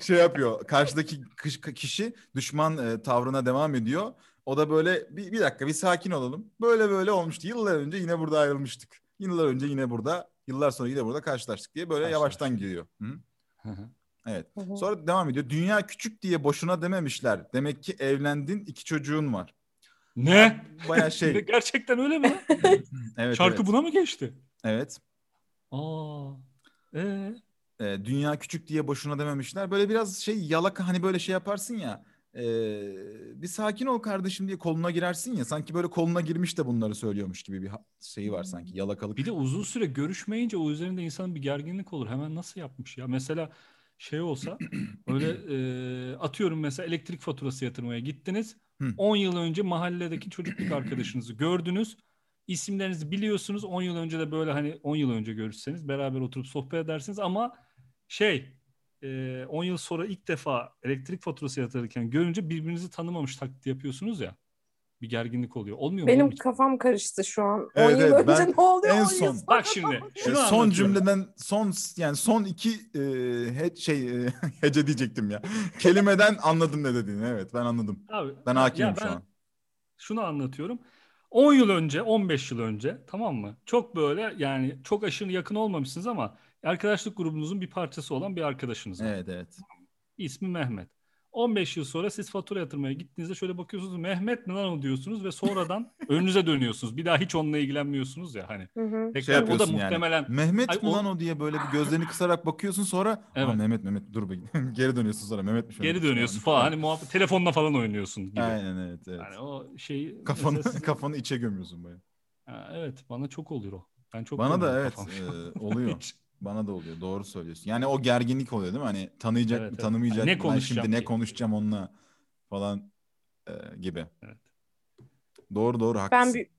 Speaker 2: şey yapıyor. Karşıdaki kış- kişi düşman e, tavrına devam ediyor. O da böyle bir, bir dakika bir sakin olalım. Böyle böyle olmuştu. Yıllar önce yine burada ayrılmıştık. Yıllar önce yine burada, yıllar sonra yine burada karşılaştık diye böyle yavaştan
Speaker 1: Karşılaştık.
Speaker 2: giriyor. Hı?
Speaker 1: Hı hı.
Speaker 2: Sonra devam ediyor. Dünya küçük diye boşuna dememişler. Demek ki evlendin, iki çocuğun var.
Speaker 1: ne?
Speaker 2: Baya
Speaker 1: Ne,
Speaker 2: şey.
Speaker 1: Gerçekten öyle mi?
Speaker 2: evet,
Speaker 1: Şarkı
Speaker 2: evet.
Speaker 1: buna mı geçti?
Speaker 2: Evet.
Speaker 1: Aa. Ee,
Speaker 2: Ee, dünya küçük diye boşuna dememişler. Böyle biraz şey yalaka hani böyle şey yaparsın ya. Ee, bir sakin ol kardeşim diye koluna girersin ya. Sanki böyle koluna girmiş de bunları söylüyormuş gibi bir ha- şeyi var sanki yalakalık.
Speaker 1: Bir de uzun süre görüşmeyince o üzerinde insanın bir gerginlik olur. Hemen nasıl yapmış ya? Mesela şey olsa öyle e, atıyorum mesela elektrik faturası yatırmaya gittiniz.
Speaker 2: Hı.
Speaker 1: 10 yıl önce mahalledeki çocukluk arkadaşınızı gördünüz. İsimlerinizi biliyorsunuz. 10 yıl önce de böyle hani 10 yıl önce görüşseniz beraber oturup sohbet edersiniz ama şey e, 10 yıl sonra ilk defa elektrik faturası yatırırken görünce birbirinizi tanımamış taklidi yapıyorsunuz ya. Bir gerginlik oluyor. Olmuyor mu? oğlum
Speaker 4: Benim
Speaker 1: hiç?
Speaker 4: kafam karıştı şu an.
Speaker 2: Evet,
Speaker 4: 10 yıl
Speaker 2: evet,
Speaker 4: önce
Speaker 2: ben
Speaker 4: ne oluyor?
Speaker 2: en
Speaker 4: 10
Speaker 2: son-
Speaker 4: yıl sonra.
Speaker 1: Bak şimdi.
Speaker 2: Ee,
Speaker 1: Şunu
Speaker 2: son
Speaker 1: anlatıyorum.
Speaker 2: cümleden son yani son iki e, he- şey e, hece diyecektim ya. Kelimeden anladım ne dediğini. Evet ben anladım.
Speaker 1: Abi,
Speaker 2: Ben
Speaker 1: ya
Speaker 2: hakimim şu
Speaker 1: ben-
Speaker 2: an.
Speaker 1: şunu anlatıyorum. 10 yıl önce, 15 yıl önce tamam mı? Çok böyle yani çok aşırı yakın olmamışsınız ama arkadaşlık grubunuzun bir parçası olan bir arkadaşınız var.
Speaker 2: Evet evet.
Speaker 1: İsmi Mehmet. 15 yıl sonra siz fatura yatırmaya gittiğinizde şöyle bakıyorsunuz Mehmet mi lan o diyorsunuz ve sonradan önünüze dönüyorsunuz. Bir daha hiç onunla ilgilenmiyorsunuz ya hani.
Speaker 4: Hı hı.
Speaker 1: Tekrar
Speaker 2: Şey
Speaker 1: o da
Speaker 2: yapıyorsun yani.
Speaker 1: muhtemelen
Speaker 2: Mehmet
Speaker 1: Ay,
Speaker 2: mi
Speaker 1: o-
Speaker 2: lan o diye böyle bir gözlerini kısarak bakıyorsun sonra "Aa,
Speaker 1: Evet.
Speaker 2: Mehmet Mehmet dur bir geri dönüyorsun sonra Mehmetmiş.
Speaker 1: geri
Speaker 2: Mehmetmiş"
Speaker 1: dönüyorsun falan. Hani muhabbet telefonla falan oynuyorsun gibi.
Speaker 2: Aynen evet evet.
Speaker 1: Yani o şey
Speaker 2: Kafanı
Speaker 1: mesela siz-
Speaker 2: kafanı içe gömüyorsun böyle.
Speaker 1: Ha, evet bana çok olur o. Ben çok
Speaker 2: Bana da
Speaker 1: gömüyorum
Speaker 2: evet
Speaker 1: kafamı.
Speaker 2: e, oluyor.
Speaker 1: Hiç.
Speaker 2: Bana da oluyor. Doğru söylüyorsun. Yani o gerginlik oluyor değil mi? Hani tanıyacak
Speaker 1: Evet,
Speaker 2: mı,
Speaker 1: evet.
Speaker 2: tanımayacak
Speaker 1: Hani ne
Speaker 2: mı? Ben
Speaker 1: konuşacağım
Speaker 2: şimdi ne
Speaker 1: ki?
Speaker 2: konuşacağım onunla falan e, gibi.
Speaker 1: Evet.
Speaker 2: Doğru doğru haklısın.
Speaker 4: Ben büyük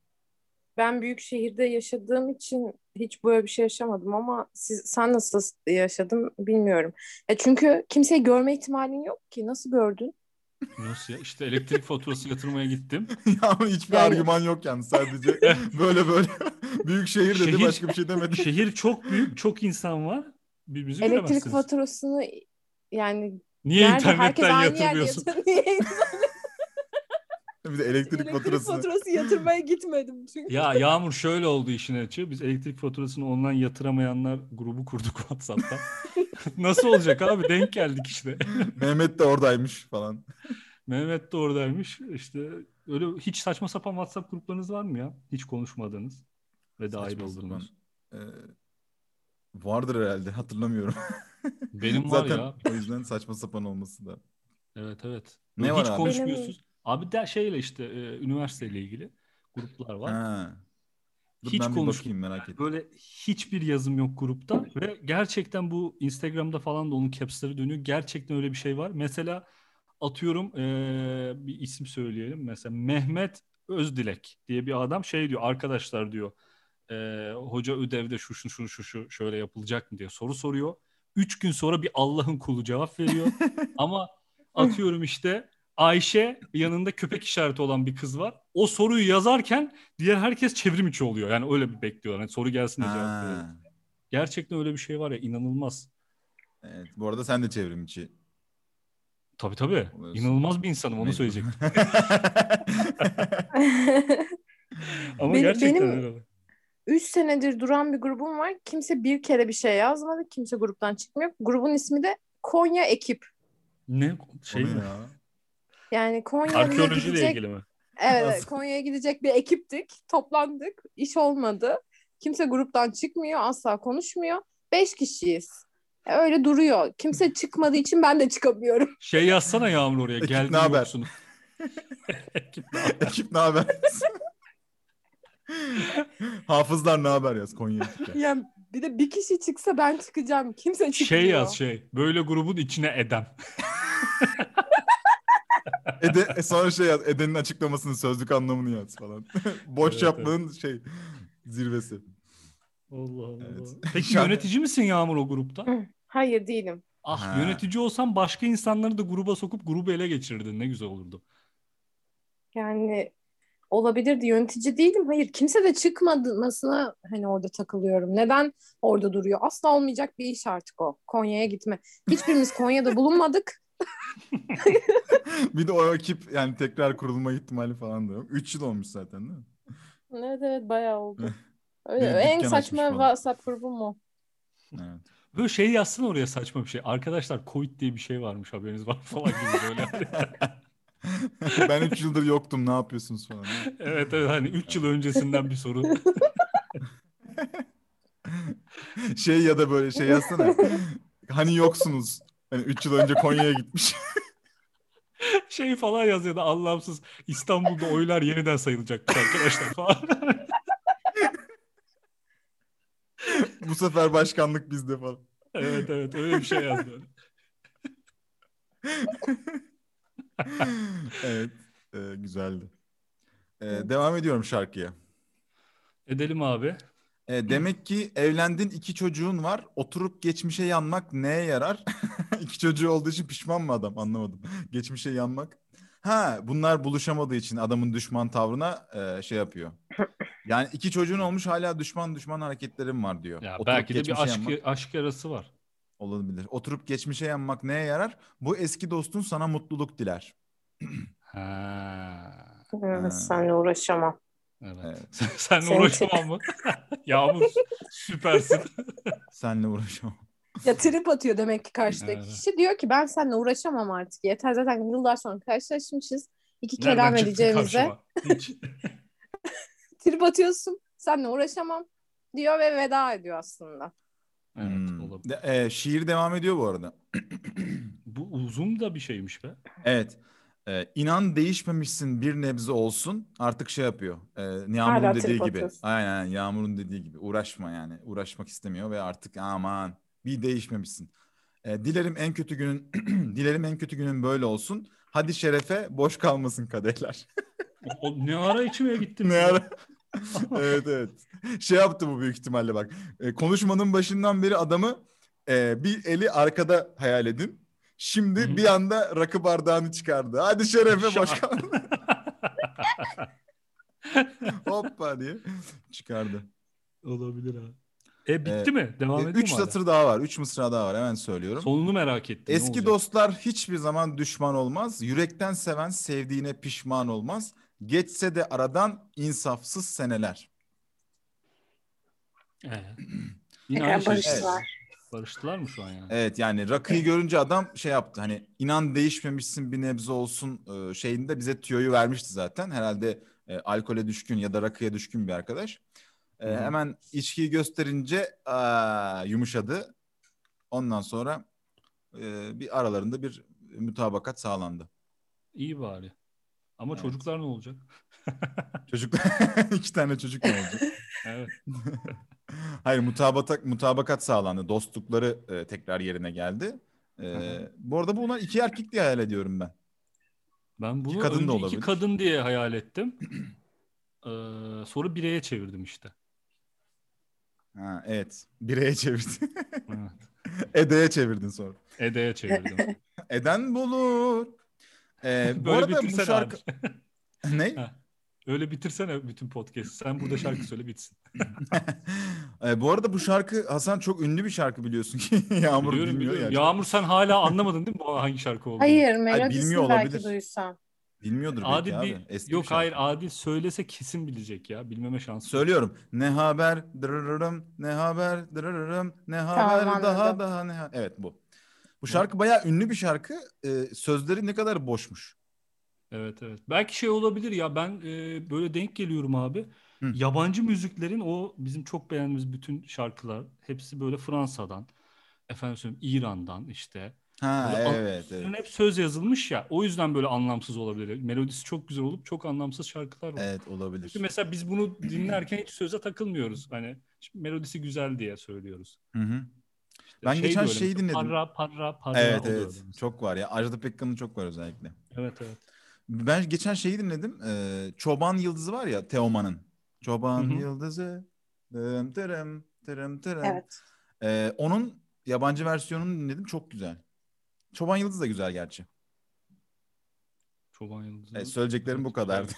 Speaker 4: ben büyük şehirde yaşadığım için hiç böyle bir şey yaşamadım ama siz, sen nasıl yaşadın bilmiyorum. E çünkü kimseyi görme ihtimalin yok ki. Nasıl gördün?
Speaker 1: Nasıl ya? İşte elektrik faturası yatırmaya gittim.
Speaker 2: ya hiçbir
Speaker 4: Yani-
Speaker 2: argüman yok yani sadece böyle böyle büyük şehir dedi
Speaker 1: Şehir-
Speaker 2: başka bir şey demedi.
Speaker 1: Şehir çok büyük, çok insan var. Birbirinizi
Speaker 4: Elektrik
Speaker 1: göremezsiniz.
Speaker 4: faturasını yani
Speaker 1: Niye
Speaker 4: nerede herkes
Speaker 1: internetten
Speaker 4: aynı yerde
Speaker 1: yatırmıyorsun?
Speaker 4: yatıyor. Niye elektrik
Speaker 2: Bir de elektrik faturası.
Speaker 4: faturası yatırmaya gitmedim çünkü.
Speaker 1: Ya Yağmur şöyle oldu işin açığı. Biz elektrik faturasını ondan yatıramayanlar grubu kurduk WhatsApp'ta. Nasıl olacak abi? Denk geldik işte.
Speaker 2: Mehmet de oradaymış falan.
Speaker 1: Mehmet de oradaymış. İşte öyle hiç saçma sapan WhatsApp gruplarınız var mı ya? Hiç konuşmadığınız ve dahil
Speaker 2: Saçma
Speaker 1: olduğunuz.
Speaker 2: sapan. Ee, vardır herhalde hatırlamıyorum.
Speaker 1: Benim var
Speaker 2: Zaten
Speaker 1: ya.
Speaker 2: o yüzden saçma sapan olması da.
Speaker 1: Evet evet.
Speaker 2: Ne
Speaker 1: Böyle
Speaker 2: var
Speaker 1: hiç
Speaker 2: abi?
Speaker 1: konuşmuyorsunuz. Abi de şeyle işte e, üniversiteyle ilgili gruplar var.
Speaker 2: Ha. Dur
Speaker 1: Hiç
Speaker 2: ben bir
Speaker 1: konuş-
Speaker 2: bakayım merak ettim.
Speaker 1: Böyle hiçbir yazım yok grupta ve gerçekten bu Instagram'da falan da onun capsleri dönüyor. Gerçekten öyle bir şey var. Mesela atıyorum eee, bir isim söyleyelim. Mesela Mehmet Özdilek diye bir adam şey diyor arkadaşlar diyor eee, hoca ödevde şu şu şu şu şu şöyle yapılacak mı diye soru soruyor. Üç gün sonra bir Allah'ın kulu cevap veriyor. Ama atıyorum işte Ayşe yanında köpek işareti olan bir kız var. O soruyu yazarken diğer herkes çevrim içi oluyor. Yani öyle bir bekliyorlar. Hani soru gelsin de cevap verelim.
Speaker 2: Ha.
Speaker 1: Gerçekten öyle bir şey var ya inanılmaz.
Speaker 2: Evet, bu arada sen de çevrim içi.
Speaker 1: Tabii tabii.
Speaker 2: Oluyorsun.
Speaker 1: İnanılmaz bir insanım onu
Speaker 2: Mecbur.
Speaker 1: söyleyecektim. Ama
Speaker 4: Benim-
Speaker 1: gerçekten
Speaker 4: benim-
Speaker 1: öyle.
Speaker 4: 3 senedir duran bir grubum var. Kimse bir kere bir şey yazmadı. Kimse gruptan çıkmıyor. Grubun ismi de Konya Ekip.
Speaker 1: Ne şey
Speaker 2: O ne
Speaker 1: mi?
Speaker 2: ya?
Speaker 4: Yani Konya'ya
Speaker 1: Arkeolojiyle
Speaker 4: gidecek
Speaker 1: ilgili mi?
Speaker 4: Evet,
Speaker 2: Nasıl?
Speaker 4: Konya'ya gidecek bir ekiptik. Toplandık. İş olmadı. Kimse gruptan çıkmıyor. Asla konuşmuyor. Beş kişiyiz. E, Öyle duruyor. Kimse çıkmadığı için ben de çıkamıyorum.
Speaker 1: Şey yazsana Yağmur oraya.
Speaker 2: Ekip
Speaker 1: Geldi
Speaker 2: ne haber?
Speaker 1: yoksunuz. Ekip ne haber?
Speaker 2: Ekip ne haber? Hafızlar ne haber yaz Konya ekipler.
Speaker 4: Yani bir de bir kişi çıksa ben çıkacağım. Kimse çıkmıyor.
Speaker 1: Şey yaz şey. Böyle grubun içine edem.
Speaker 2: Ede, e, sonra şey yaz. Eden'in açıklamasının sözlük anlamını yaz falan. Boş
Speaker 1: Evet,
Speaker 2: yaplığın şey zirvesi.
Speaker 1: Allah Allah.
Speaker 2: Evet.
Speaker 1: Peki
Speaker 2: Şu an-
Speaker 1: yönetici misin Yağmur o grupta?
Speaker 4: Hayır değilim.
Speaker 1: Ah
Speaker 2: Ha.
Speaker 1: yönetici olsan başka insanları da gruba sokup grubu ele geçirirdin. Ne güzel olurdu.
Speaker 4: Yani olabilirdi. Yönetici değilim. Hayır. Kimse de çıkmadığına hani orada takılıyorum. Neden orada duruyor? Asla olmayacak bir iş artık o. Konya'ya gitme. Hiçbirimiz Konya'da bulunmadık.
Speaker 2: Bir de o ekip yani tekrar kurulma ihtimali falan da yok. 3 yıl olmuş zaten değil mi?
Speaker 4: Evet evet bayağı oldu. Öyle,
Speaker 2: Biri
Speaker 4: en
Speaker 2: dükkan
Speaker 4: saçma
Speaker 2: açmış falan.
Speaker 4: WhatsApp grubu mu?
Speaker 2: Evet.
Speaker 1: Böyle şey yazsın oraya saçma bir şey. Arkadaşlar Covid diye bir şey varmış haberiniz var falan gibi böyle.
Speaker 2: ben 3 yıldır yoktum ne yapıyorsunuz falan. değil mi?
Speaker 1: evet evet hani 3 yıl öncesinden bir soru.
Speaker 2: Şey ya da böyle şey yazsana. hani yoksunuz. Hani 3 yıl önce Konya'ya gitmiş.
Speaker 1: şey falan yazıyordu anlamsız İstanbul'da oylar yeniden sayılacak arkadaşlar falan.
Speaker 2: Bu sefer başkanlık bizde falan.
Speaker 1: evet evet öyle bir şey yazdı.
Speaker 2: evet. e, güzeldi. E, devam ediyorum şarkıya.
Speaker 1: Edelim abi.
Speaker 2: E, demek ki evlendin iki çocuğun var. Oturup geçmişe yanmak neye yarar? iki çocuğu olduğu için pişman mı adam? Anlamadım. geçmişe yanmak. Ha bunlar buluşamadığı için adamın düşman tavrına e, şey yapıyor. Yani iki çocuğun olmuş hala düşman düşman hareketlerim var diyor.
Speaker 1: Ya
Speaker 2: Oturup
Speaker 1: belki de
Speaker 2: geçmişe
Speaker 1: bir aşk
Speaker 2: yanmak-
Speaker 1: aşk yarası var.
Speaker 2: Olabilir. Oturup geçmişe yanmak neye yarar? Bu eski dostun sana mutluluk diler.
Speaker 1: Ha.
Speaker 2: Ha.
Speaker 4: Senle uğraşamam.
Speaker 1: Evet.
Speaker 2: Evet.
Speaker 1: Sen, senle
Speaker 4: Sen-
Speaker 1: uğraşamam mı? Yağmur süpersin.
Speaker 2: Senle uğraşamam.
Speaker 4: Ya trip atıyor demek ki karşıdaki
Speaker 1: Evet.
Speaker 4: kişi. Diyor ki ben seninle uğraşamam artık. Yeter zaten yıllar sonra karşılaşmışız. İki
Speaker 1: Nereden
Speaker 4: kelam
Speaker 1: çıktın
Speaker 4: edeceğimize.
Speaker 1: karşıma? Hiç.
Speaker 4: Trip atıyorsun. Seninle uğraşamam diyor ve veda ediyor aslında.
Speaker 1: Evet,
Speaker 2: Hmm.
Speaker 1: olabilir.
Speaker 2: De- e, şiir devam ediyor bu arada.
Speaker 1: Bu uzun da bir şeymiş be.
Speaker 2: Evet. E, inan değişmemişsin bir nebze olsun. Artık şey yapıyor. E, Yağmur'un
Speaker 4: Hala trip
Speaker 2: dediği gibi.
Speaker 4: atıyorsun.
Speaker 2: Aynen aynen, Yağmur'un dediği gibi. Uğraşma yani. Uğraşmak istemiyor ve artık aman bir değişmemişsin. E, dilerim en kötü günün dilerim en kötü günün böyle olsun. Hadi şerefe boş kalmasın kadehler.
Speaker 1: O, o ne ara içmeye gittim.
Speaker 2: ne
Speaker 1: ya?
Speaker 2: ara? evet evet. Şey yaptı bu büyük ihtimalle bak. E, konuşmanın başından beri adamı e, bir eli arkada hayal edin. Şimdi
Speaker 1: Hı.
Speaker 2: bir anda rakı bardağını çıkardı. Hadi şerefe
Speaker 1: Şa-
Speaker 2: başkan. Hoppa diye çıkardı.
Speaker 1: Olabilir abi. E bitti mi? Devam
Speaker 2: E,
Speaker 1: ediyor
Speaker 2: üç
Speaker 1: mu hala?
Speaker 2: satır daha var. Üç mısra daha var. Hemen söylüyorum.
Speaker 1: Sonunu merak ettim. ne
Speaker 2: Eski
Speaker 1: olacak?
Speaker 2: dostlar hiçbir zaman düşman olmaz. Yürekten seven sevdiğine pişman olmaz. Geçse de aradan insafsız seneler.
Speaker 1: Ee, Yine
Speaker 4: Tekrar
Speaker 1: aynı şey.
Speaker 4: barıştılar.
Speaker 1: Barıştılar mı şu an yani?
Speaker 2: Evet yani rakıyı görünce adam şey yaptı hani inan değişmemişsin bir nebze olsun e, şeyinde bize tüyoyu vermişti zaten. Herhalde e, alkole düşkün ya da rakıya düşkün bir arkadaş. E,
Speaker 1: Hı hı.
Speaker 2: hemen içkiyi gösterince aa, yumuşadı. Ondan sonra e, bir aralarında bir mutabakat sağlandı.
Speaker 1: İyi bari. Ama
Speaker 2: Evet.
Speaker 1: çocuklar ne olacak?
Speaker 2: Çocuklar iki tane çocuk ne olacak?
Speaker 1: Evet.
Speaker 2: Hayır mutabakat mutabakat sağlandı. Dostlukları e, tekrar yerine geldi. E,
Speaker 1: hı.
Speaker 2: bu arada bunlar iki erkek diye hayal ediyorum ben.
Speaker 1: Ben bunu
Speaker 2: kadın da
Speaker 1: önce iki
Speaker 2: olabilir.
Speaker 1: kadın diye hayal ettim. Ee, sonra bireye çevirdim işte.
Speaker 2: Ha, evet. Bireye çevirdin.
Speaker 1: Evet.
Speaker 2: Ede'ye çevirdin sonra.
Speaker 1: Ede'ye çevirdim.
Speaker 2: Eden bulur. Ee, bu
Speaker 1: Böyle
Speaker 2: arada bu
Speaker 1: bitirsene
Speaker 2: şarkı...
Speaker 1: abi.
Speaker 2: ne?
Speaker 1: şey. Öyle bitirsene bütün podcast. Sen burada şarkı söyle bitsin.
Speaker 2: Ee, bu arada bu şarkı Hasan çok ünlü bir şarkı biliyorsun ki. Yağmur
Speaker 1: biliyorum
Speaker 2: bilmiyor
Speaker 1: biliyorum.
Speaker 2: yani.
Speaker 1: Yağmur sen hala anlamadın değil mi bu hangi şarkı olduğunu?
Speaker 4: Hayır
Speaker 2: bilmiyor
Speaker 4: melodisini belki
Speaker 2: olabilir.
Speaker 4: duysam.
Speaker 2: Bilmiyordur
Speaker 1: Adil
Speaker 2: belki
Speaker 1: bir
Speaker 2: abi. Eski bir
Speaker 1: yok
Speaker 2: şarkı.
Speaker 1: hayır Adil söylese kesin bilecek ya. Bilmeme şansı. yok.
Speaker 2: Söylüyorum. Ne haber dırırırım, ne haber dırırırım, ne haber
Speaker 4: Tamam,
Speaker 2: daha
Speaker 4: anladım.
Speaker 2: daha ne ha- Evet bu. Bu şarkı bayağı ünlü bir şarkı. Ee, sözleri ne kadar boşmuş.
Speaker 1: Evet evet. Belki şey olabilir ya ben e, böyle denk geliyorum abi.
Speaker 2: Hı.
Speaker 1: Yabancı müziklerin o bizim çok beğendiğimiz bütün şarkılar hepsi böyle Fransa'dan, efendim söyleyeyim İran'dan işte.
Speaker 2: Ha
Speaker 1: Böyle an-
Speaker 2: evet evet.
Speaker 1: Bunların hep söz yazılmış ya. O yüzden böyle anlamsız olabilir. Melodisi çok güzel olup çok anlamsız şarkılar var.
Speaker 2: Evet olabilir.
Speaker 1: Çünkü mesela biz bunu dinlerken hiç söze takılmıyoruz. Hani şimdi melodisi güzel diye söylüyoruz.
Speaker 2: Hı hı.
Speaker 1: İşte
Speaker 2: Ben
Speaker 1: şey
Speaker 2: geçen
Speaker 1: böyle
Speaker 2: şeyi
Speaker 1: mesela,
Speaker 2: dinledim.
Speaker 1: Parra parra parra
Speaker 2: Evet
Speaker 1: oluyor
Speaker 2: evet.
Speaker 1: mesela.
Speaker 2: Çok var ya. Ajda Pekkan'ın çok var özellikle.
Speaker 1: Evet evet.
Speaker 2: Ben geçen şeyi dinledim. Ee, Çoban Yıldızı var ya Teoman'ın. Çoban
Speaker 1: Hı hı.
Speaker 2: Yıldızı. Tırım tırım tırım tırım.
Speaker 4: Evet.
Speaker 2: Ee, onun yabancı versiyonunu dinledim. Çok güzel. Çoban Yıldızı da güzel gerçi.
Speaker 1: Çoban Yıldızı.
Speaker 2: Ee, söyleyeceklerim bu kadardı.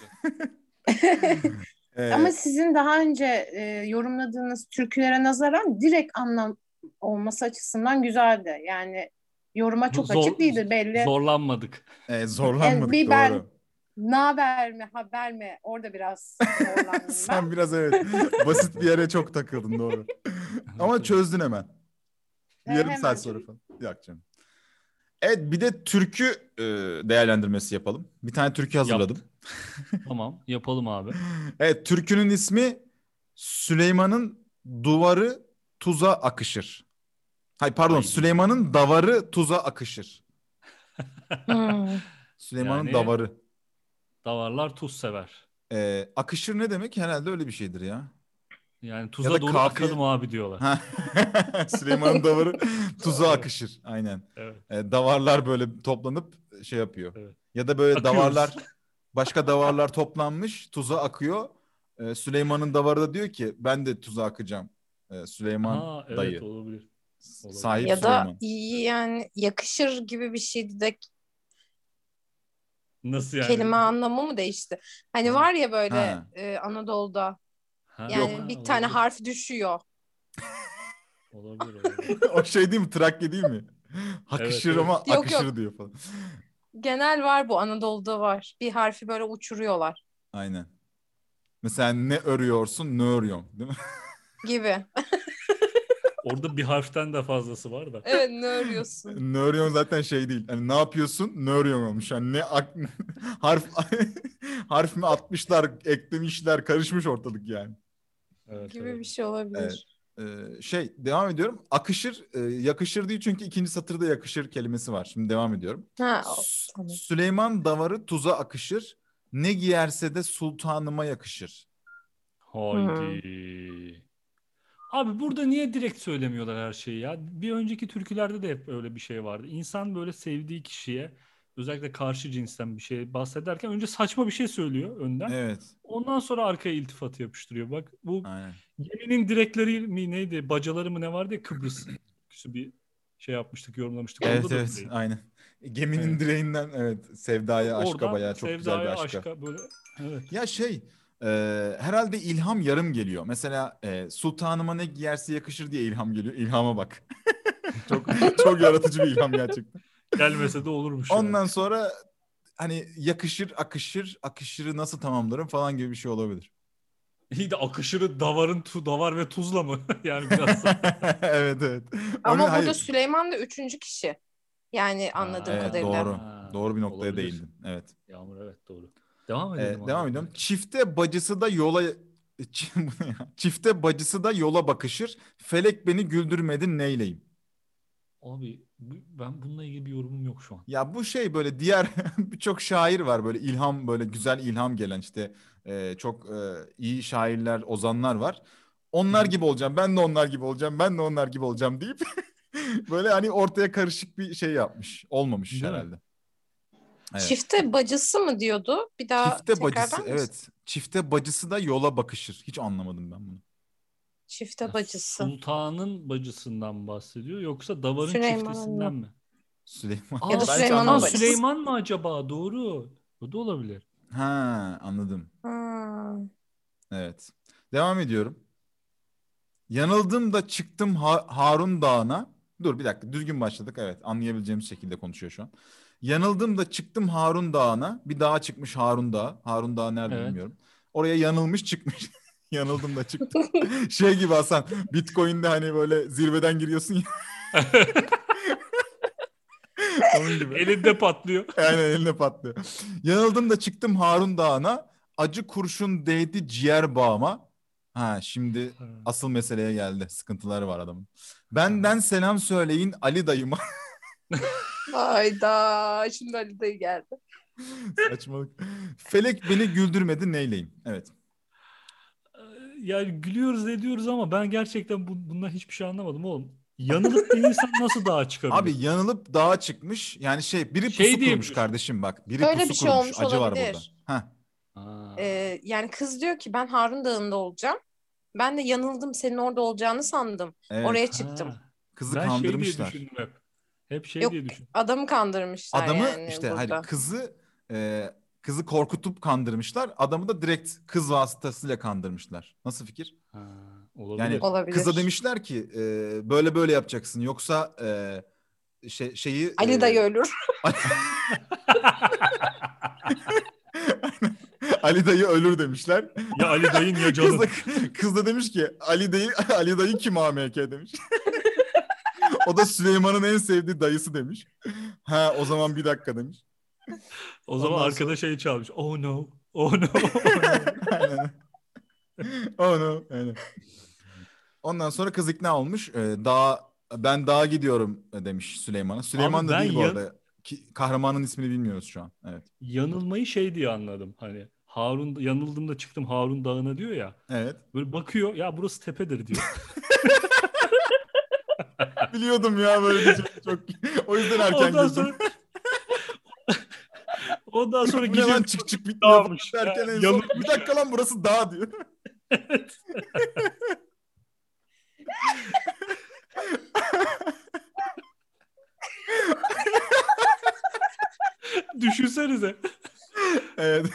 Speaker 2: Ee,
Speaker 4: Ama sizin daha önce e, yorumladığınız türkülere nazaran direkt anlam olması açısından güzeldi. Yani yoruma çok
Speaker 1: Zor-
Speaker 4: açık değildi belli.
Speaker 1: Zorlanmadık.
Speaker 2: e, zorlanmadık
Speaker 4: Bir
Speaker 2: doğru.
Speaker 4: ben- Naber mi haber mi orada biraz zorlandım ben.
Speaker 2: Sen biraz evet basit bir yere çok takıldın doğru. Ama
Speaker 1: Evet.
Speaker 2: çözdün hemen. Bir
Speaker 4: E,
Speaker 2: Yarım
Speaker 4: hemen
Speaker 2: saat sonra
Speaker 4: çözdüm.
Speaker 2: falan. Yok canım. Evet bir de türkü e, değerlendirmesi yapalım. Bir tane türkü hazırladım.
Speaker 1: Tamam yapalım abi.
Speaker 2: Evet türkünün ismi Süleyman'ın duvarı tuza akışır. Hayır pardon
Speaker 1: Ay.
Speaker 2: Süleyman'ın davarı tuza akışır.
Speaker 4: Hmm.
Speaker 2: Süleyman'ın
Speaker 1: Yani-
Speaker 2: davarı.
Speaker 1: Davarlar tuz sever.
Speaker 2: Ee, akışır ne demek? Herhalde öyle bir şeydir ya.
Speaker 1: Yani tuza
Speaker 2: da
Speaker 1: doğru
Speaker 2: kafiye-
Speaker 1: akalım abi diyorlar.
Speaker 2: Ha. Süleyman'ın davarı tuza akışır. Aynen.
Speaker 1: Evet.
Speaker 2: Ee, davarlar böyle toplanıp şey yapıyor.
Speaker 1: Evet.
Speaker 2: Ya da böyle
Speaker 1: Akıyoruz.
Speaker 2: davarlar başka davarlar toplanmış tuza akıyor. Ee, Süleyman'ın davarı da diyor ki ben de tuza akacağım. Ee, Süleyman
Speaker 1: Ha, evet
Speaker 2: dayı.
Speaker 1: olabilir. olabilir.
Speaker 2: Sahip
Speaker 4: ya da
Speaker 2: Süleyman.
Speaker 4: iyi yani yakışır gibi bir şey şeydi de
Speaker 1: Nasıl yani?
Speaker 4: kelime anlamı mı değişti? Hani
Speaker 2: Ha.
Speaker 4: var ya böyle
Speaker 2: Ha.
Speaker 4: e, Anadolu'da
Speaker 1: Ha,
Speaker 4: yani bir tane
Speaker 1: olabilir.
Speaker 4: harf düşüyor.
Speaker 1: Olabilir, olabilir.
Speaker 2: o şey değil mi? Trakya değil mi? Akışır
Speaker 1: Evet, evet.
Speaker 2: ama
Speaker 4: Yok,
Speaker 2: akışır diyor falan.
Speaker 4: Genel var bu Anadolu'da var. Bir harfi böyle uçuruyorlar
Speaker 2: Aynen. Mesela ne örüyorsun ne örüyorum değil mi?
Speaker 4: gibi.
Speaker 1: Orada bir harften de fazlası var da.
Speaker 4: Evet ne arıyorsun?
Speaker 2: ne örüyorsun zaten şey değil. Hani ne yapıyorsun ne örüyorum olmuş. Yani ne ak- harf harf mi atmışlar eklemişler karışmış ortalık yani.
Speaker 1: Evet,
Speaker 4: gibi
Speaker 1: evet.
Speaker 4: bir şey olabilir.
Speaker 2: Evet. Ee, şey devam ediyorum. Akışır e, yakışır değil çünkü ikinci satırda yakışır kelimesi var. Şimdi devam ediyorum.
Speaker 4: Ha, o-
Speaker 2: Sü-
Speaker 4: tamam.
Speaker 2: Süleyman davarı tuza akışır. Ne giyerse de sultanıma yakışır.
Speaker 1: Haydi. Abi burada niye direkt söylemiyorlar her şeyi ya? Bir önceki türkülerde de hep öyle bir şey vardı. İnsan böyle sevdiği kişiye özellikle karşı cinsten bir şey bahsederken önce saçma bir şey söylüyor önden.
Speaker 2: Evet.
Speaker 1: Ondan sonra arkaya iltifatı yapıştırıyor. Bak bu
Speaker 2: Aynen.
Speaker 1: geminin direkleri mi neydi? Bacaları mı ne vardı ya Kıbrıs türküsü bir şey yapmıştık, yorumlamıştık. Onda
Speaker 2: Evet
Speaker 1: da
Speaker 2: evet
Speaker 1: öyleydi.
Speaker 2: aynen. Geminin
Speaker 1: Evet.
Speaker 2: direğinden evet sevdaya aşka
Speaker 1: Oradan
Speaker 2: bayağı çok güzel bir
Speaker 1: sevdaya,
Speaker 2: aşka.
Speaker 1: aşka böyle evet.
Speaker 2: Ya şey e, herhalde ilham yarım geliyor. Mesela e, sultanıma ne giyerse yakışır diye ilham geliyor. İlhama bak. çok çok yaratıcı bir ilham gerçekten.
Speaker 1: Gelmese de olurmuş. yani.
Speaker 2: Ondan sonra hani yakışır akışır akışırı nasıl tamamlarım falan gibi bir şey olabilir.
Speaker 1: İyi de akışırı davarın tu, davar ve tuzla mı? yani biraz da-
Speaker 2: evet evet.
Speaker 4: Ama
Speaker 2: Öyle-
Speaker 4: burada
Speaker 2: hayır.
Speaker 4: Süleyman da üçüncü kişi. Yani anladığım
Speaker 1: evet,
Speaker 4: kadarıyla.
Speaker 2: doğru.
Speaker 1: Ha,
Speaker 2: Doğru bir noktaya
Speaker 1: olabilir.
Speaker 2: değindin. Evet.
Speaker 1: Yağmur evet doğru. Devam
Speaker 2: Ee,
Speaker 1: edelim. abi.
Speaker 2: devam ediyorum. Çifte bacısı da yola Çi- bu ne ya? çifte bacısı da yola bakışır. Felek beni güldürmedin neyleyim?
Speaker 1: Abi bu- ben bununla ilgili bir yorumum yok şu an.
Speaker 2: Ya bu şey böyle diğer birçok şair var böyle ilham böyle güzel ilham gelen işte e, çok e, iyi şairler ozanlar var. Onlar gibi olacağım ben de onlar gibi olacağım ben de onlar gibi olacağım deyip böyle hani ortaya karışık bir şey yapmış olmamış
Speaker 1: Değil mi?
Speaker 2: herhalde. Evet.
Speaker 4: Çifte bacısı mı diyordu? Bir daha
Speaker 2: Çifte
Speaker 4: tekrarlar
Speaker 2: bacısı
Speaker 4: mısın?
Speaker 2: evet çifte bacısı da yola bakışır. Hiç anlamadım ben bunu.
Speaker 4: Çifte bacısı.
Speaker 1: Sultanın bacısından bahsediyor yoksa davarın
Speaker 4: Süleyman'ın
Speaker 1: çiftesinden mi?
Speaker 2: Süleyman.
Speaker 1: Aa,
Speaker 4: Ya da
Speaker 1: ben-
Speaker 4: Süleyman'ın
Speaker 1: Aa,
Speaker 4: bacısı.
Speaker 1: Süleyman mı acaba? Doğru. Bu da olabilir.
Speaker 2: Ha anladım.
Speaker 4: Ha.
Speaker 2: Evet. Devam ediyorum. Yanıldım da çıktım Ha- Harun Dağı'na. Dur bir dakika düzgün başladık. Evet anlayabileceğimiz şekilde konuşuyor şu an. Yanıldım da çıktım Harun Dağı'na. Bir dağa çıkmış Harun Dağı. Harun Dağı nerede
Speaker 1: Evet.
Speaker 2: bilmiyorum. Oraya yanılmış çıkmış. Yanıldım da çıktım. şey gibi Hasan. Bitcoin'de hani böyle zirveden giriyorsun ya. Onun gibi.
Speaker 1: Elinde patlıyor.
Speaker 2: Aynen eline patlıyor. Yanıldım da çıktım Harun Dağı'na. Acı kurşun değdi ciğer bağıma. Ha şimdi asıl meseleye geldi. Sıkıntıları var adamın. Benden selam söyleyin Ali dayıma.
Speaker 4: Hayda. Şimdi Ali dayı geldi.
Speaker 2: Saçmalık. Felek beni güldürmedi neyleyim. Evet.
Speaker 1: Yani gülüyoruz ediyoruz ama ben gerçekten bu, bundan hiçbir şey anlamadım oğlum. Yanılıp bir insan nasıl dağa çıkabilir?
Speaker 2: Abi yanılıp dağa çıkmış. Yani şey biri
Speaker 1: Şey
Speaker 2: pusu
Speaker 1: diye
Speaker 2: kurmuş
Speaker 1: bir-
Speaker 2: kardeşim bak. Biri
Speaker 4: Böyle
Speaker 2: pusu
Speaker 4: bir şey
Speaker 2: kurmuş.
Speaker 4: olmuş
Speaker 2: Acı var
Speaker 4: olabilir.
Speaker 2: burada. Ha.
Speaker 1: Aa.
Speaker 4: Ee, yani kız diyor ki ben Harun Dağı'nda olacağım. Ben de yanıldım senin orada olacağını sandım.
Speaker 2: Evet.
Speaker 4: Oraya
Speaker 1: Ha.
Speaker 4: şey çıktım.
Speaker 2: Kızı
Speaker 1: ben
Speaker 2: kandırmışlar.
Speaker 1: şey diye düşündüm hep. Hep şey
Speaker 4: Yok,
Speaker 1: diye düşündüm.
Speaker 4: Adamı kandırmışlar
Speaker 2: Adamı
Speaker 4: yani
Speaker 2: işte
Speaker 4: burada.
Speaker 2: hani kızı e, kızı korkutup kandırmışlar. Adamı da direkt kız vasıtasıyla kandırmışlar. Nasıl fikir?
Speaker 1: Ha, olabilir.
Speaker 2: Yani-
Speaker 4: Olabilir.
Speaker 2: Kıza demişler ki e, böyle böyle yapacaksın yoksa e, şey şeyi
Speaker 4: Ali
Speaker 2: e,
Speaker 1: Ee,
Speaker 4: dayı ölür.
Speaker 2: Ali dayı ölür demişler.
Speaker 1: ya Ali dayın ya
Speaker 2: Kız
Speaker 1: canın.
Speaker 2: da, kız da demiş ki Ali dayı Ali dayı kim AMK demiş. o da Süleyman'ın en sevdiği dayısı demiş. Ha o zaman bir dakika demiş.
Speaker 1: O zaman
Speaker 2: Ondan
Speaker 1: arkada şey çalmış. Oh no. Oh no.
Speaker 2: Aynen. oh no. Aynen. Ondan sonra kız ikna olmuş. Ee, daha ben dağa gidiyorum demiş Süleyman'a. Süleyman
Speaker 1: Abi
Speaker 2: da
Speaker 1: ben
Speaker 2: değil bu
Speaker 1: ya-
Speaker 2: arada. Ki, kahramanın ismini bilmiyoruz şu an. Evet.
Speaker 1: Yanılmayı şey diye anladım. Hani Harun yanıldım da çıktım Harun Dağı'na diyor ya.
Speaker 2: Evet.
Speaker 1: Böyle bakıyor ya burası tepedir diyor.
Speaker 2: Biliyordum ya böyle bir şey. Çok... O yüzden erken
Speaker 1: Ondan
Speaker 2: girdim.
Speaker 1: sonra Ondan sonra
Speaker 2: Bu ne lan
Speaker 1: gidiyor
Speaker 2: çık çık bitmiyor. falan
Speaker 1: dağmış.
Speaker 2: Derken en son,
Speaker 1: Yanılmış
Speaker 2: bir dakika lan burası dağ diyor.
Speaker 1: Düşünsenize.
Speaker 2: Evet.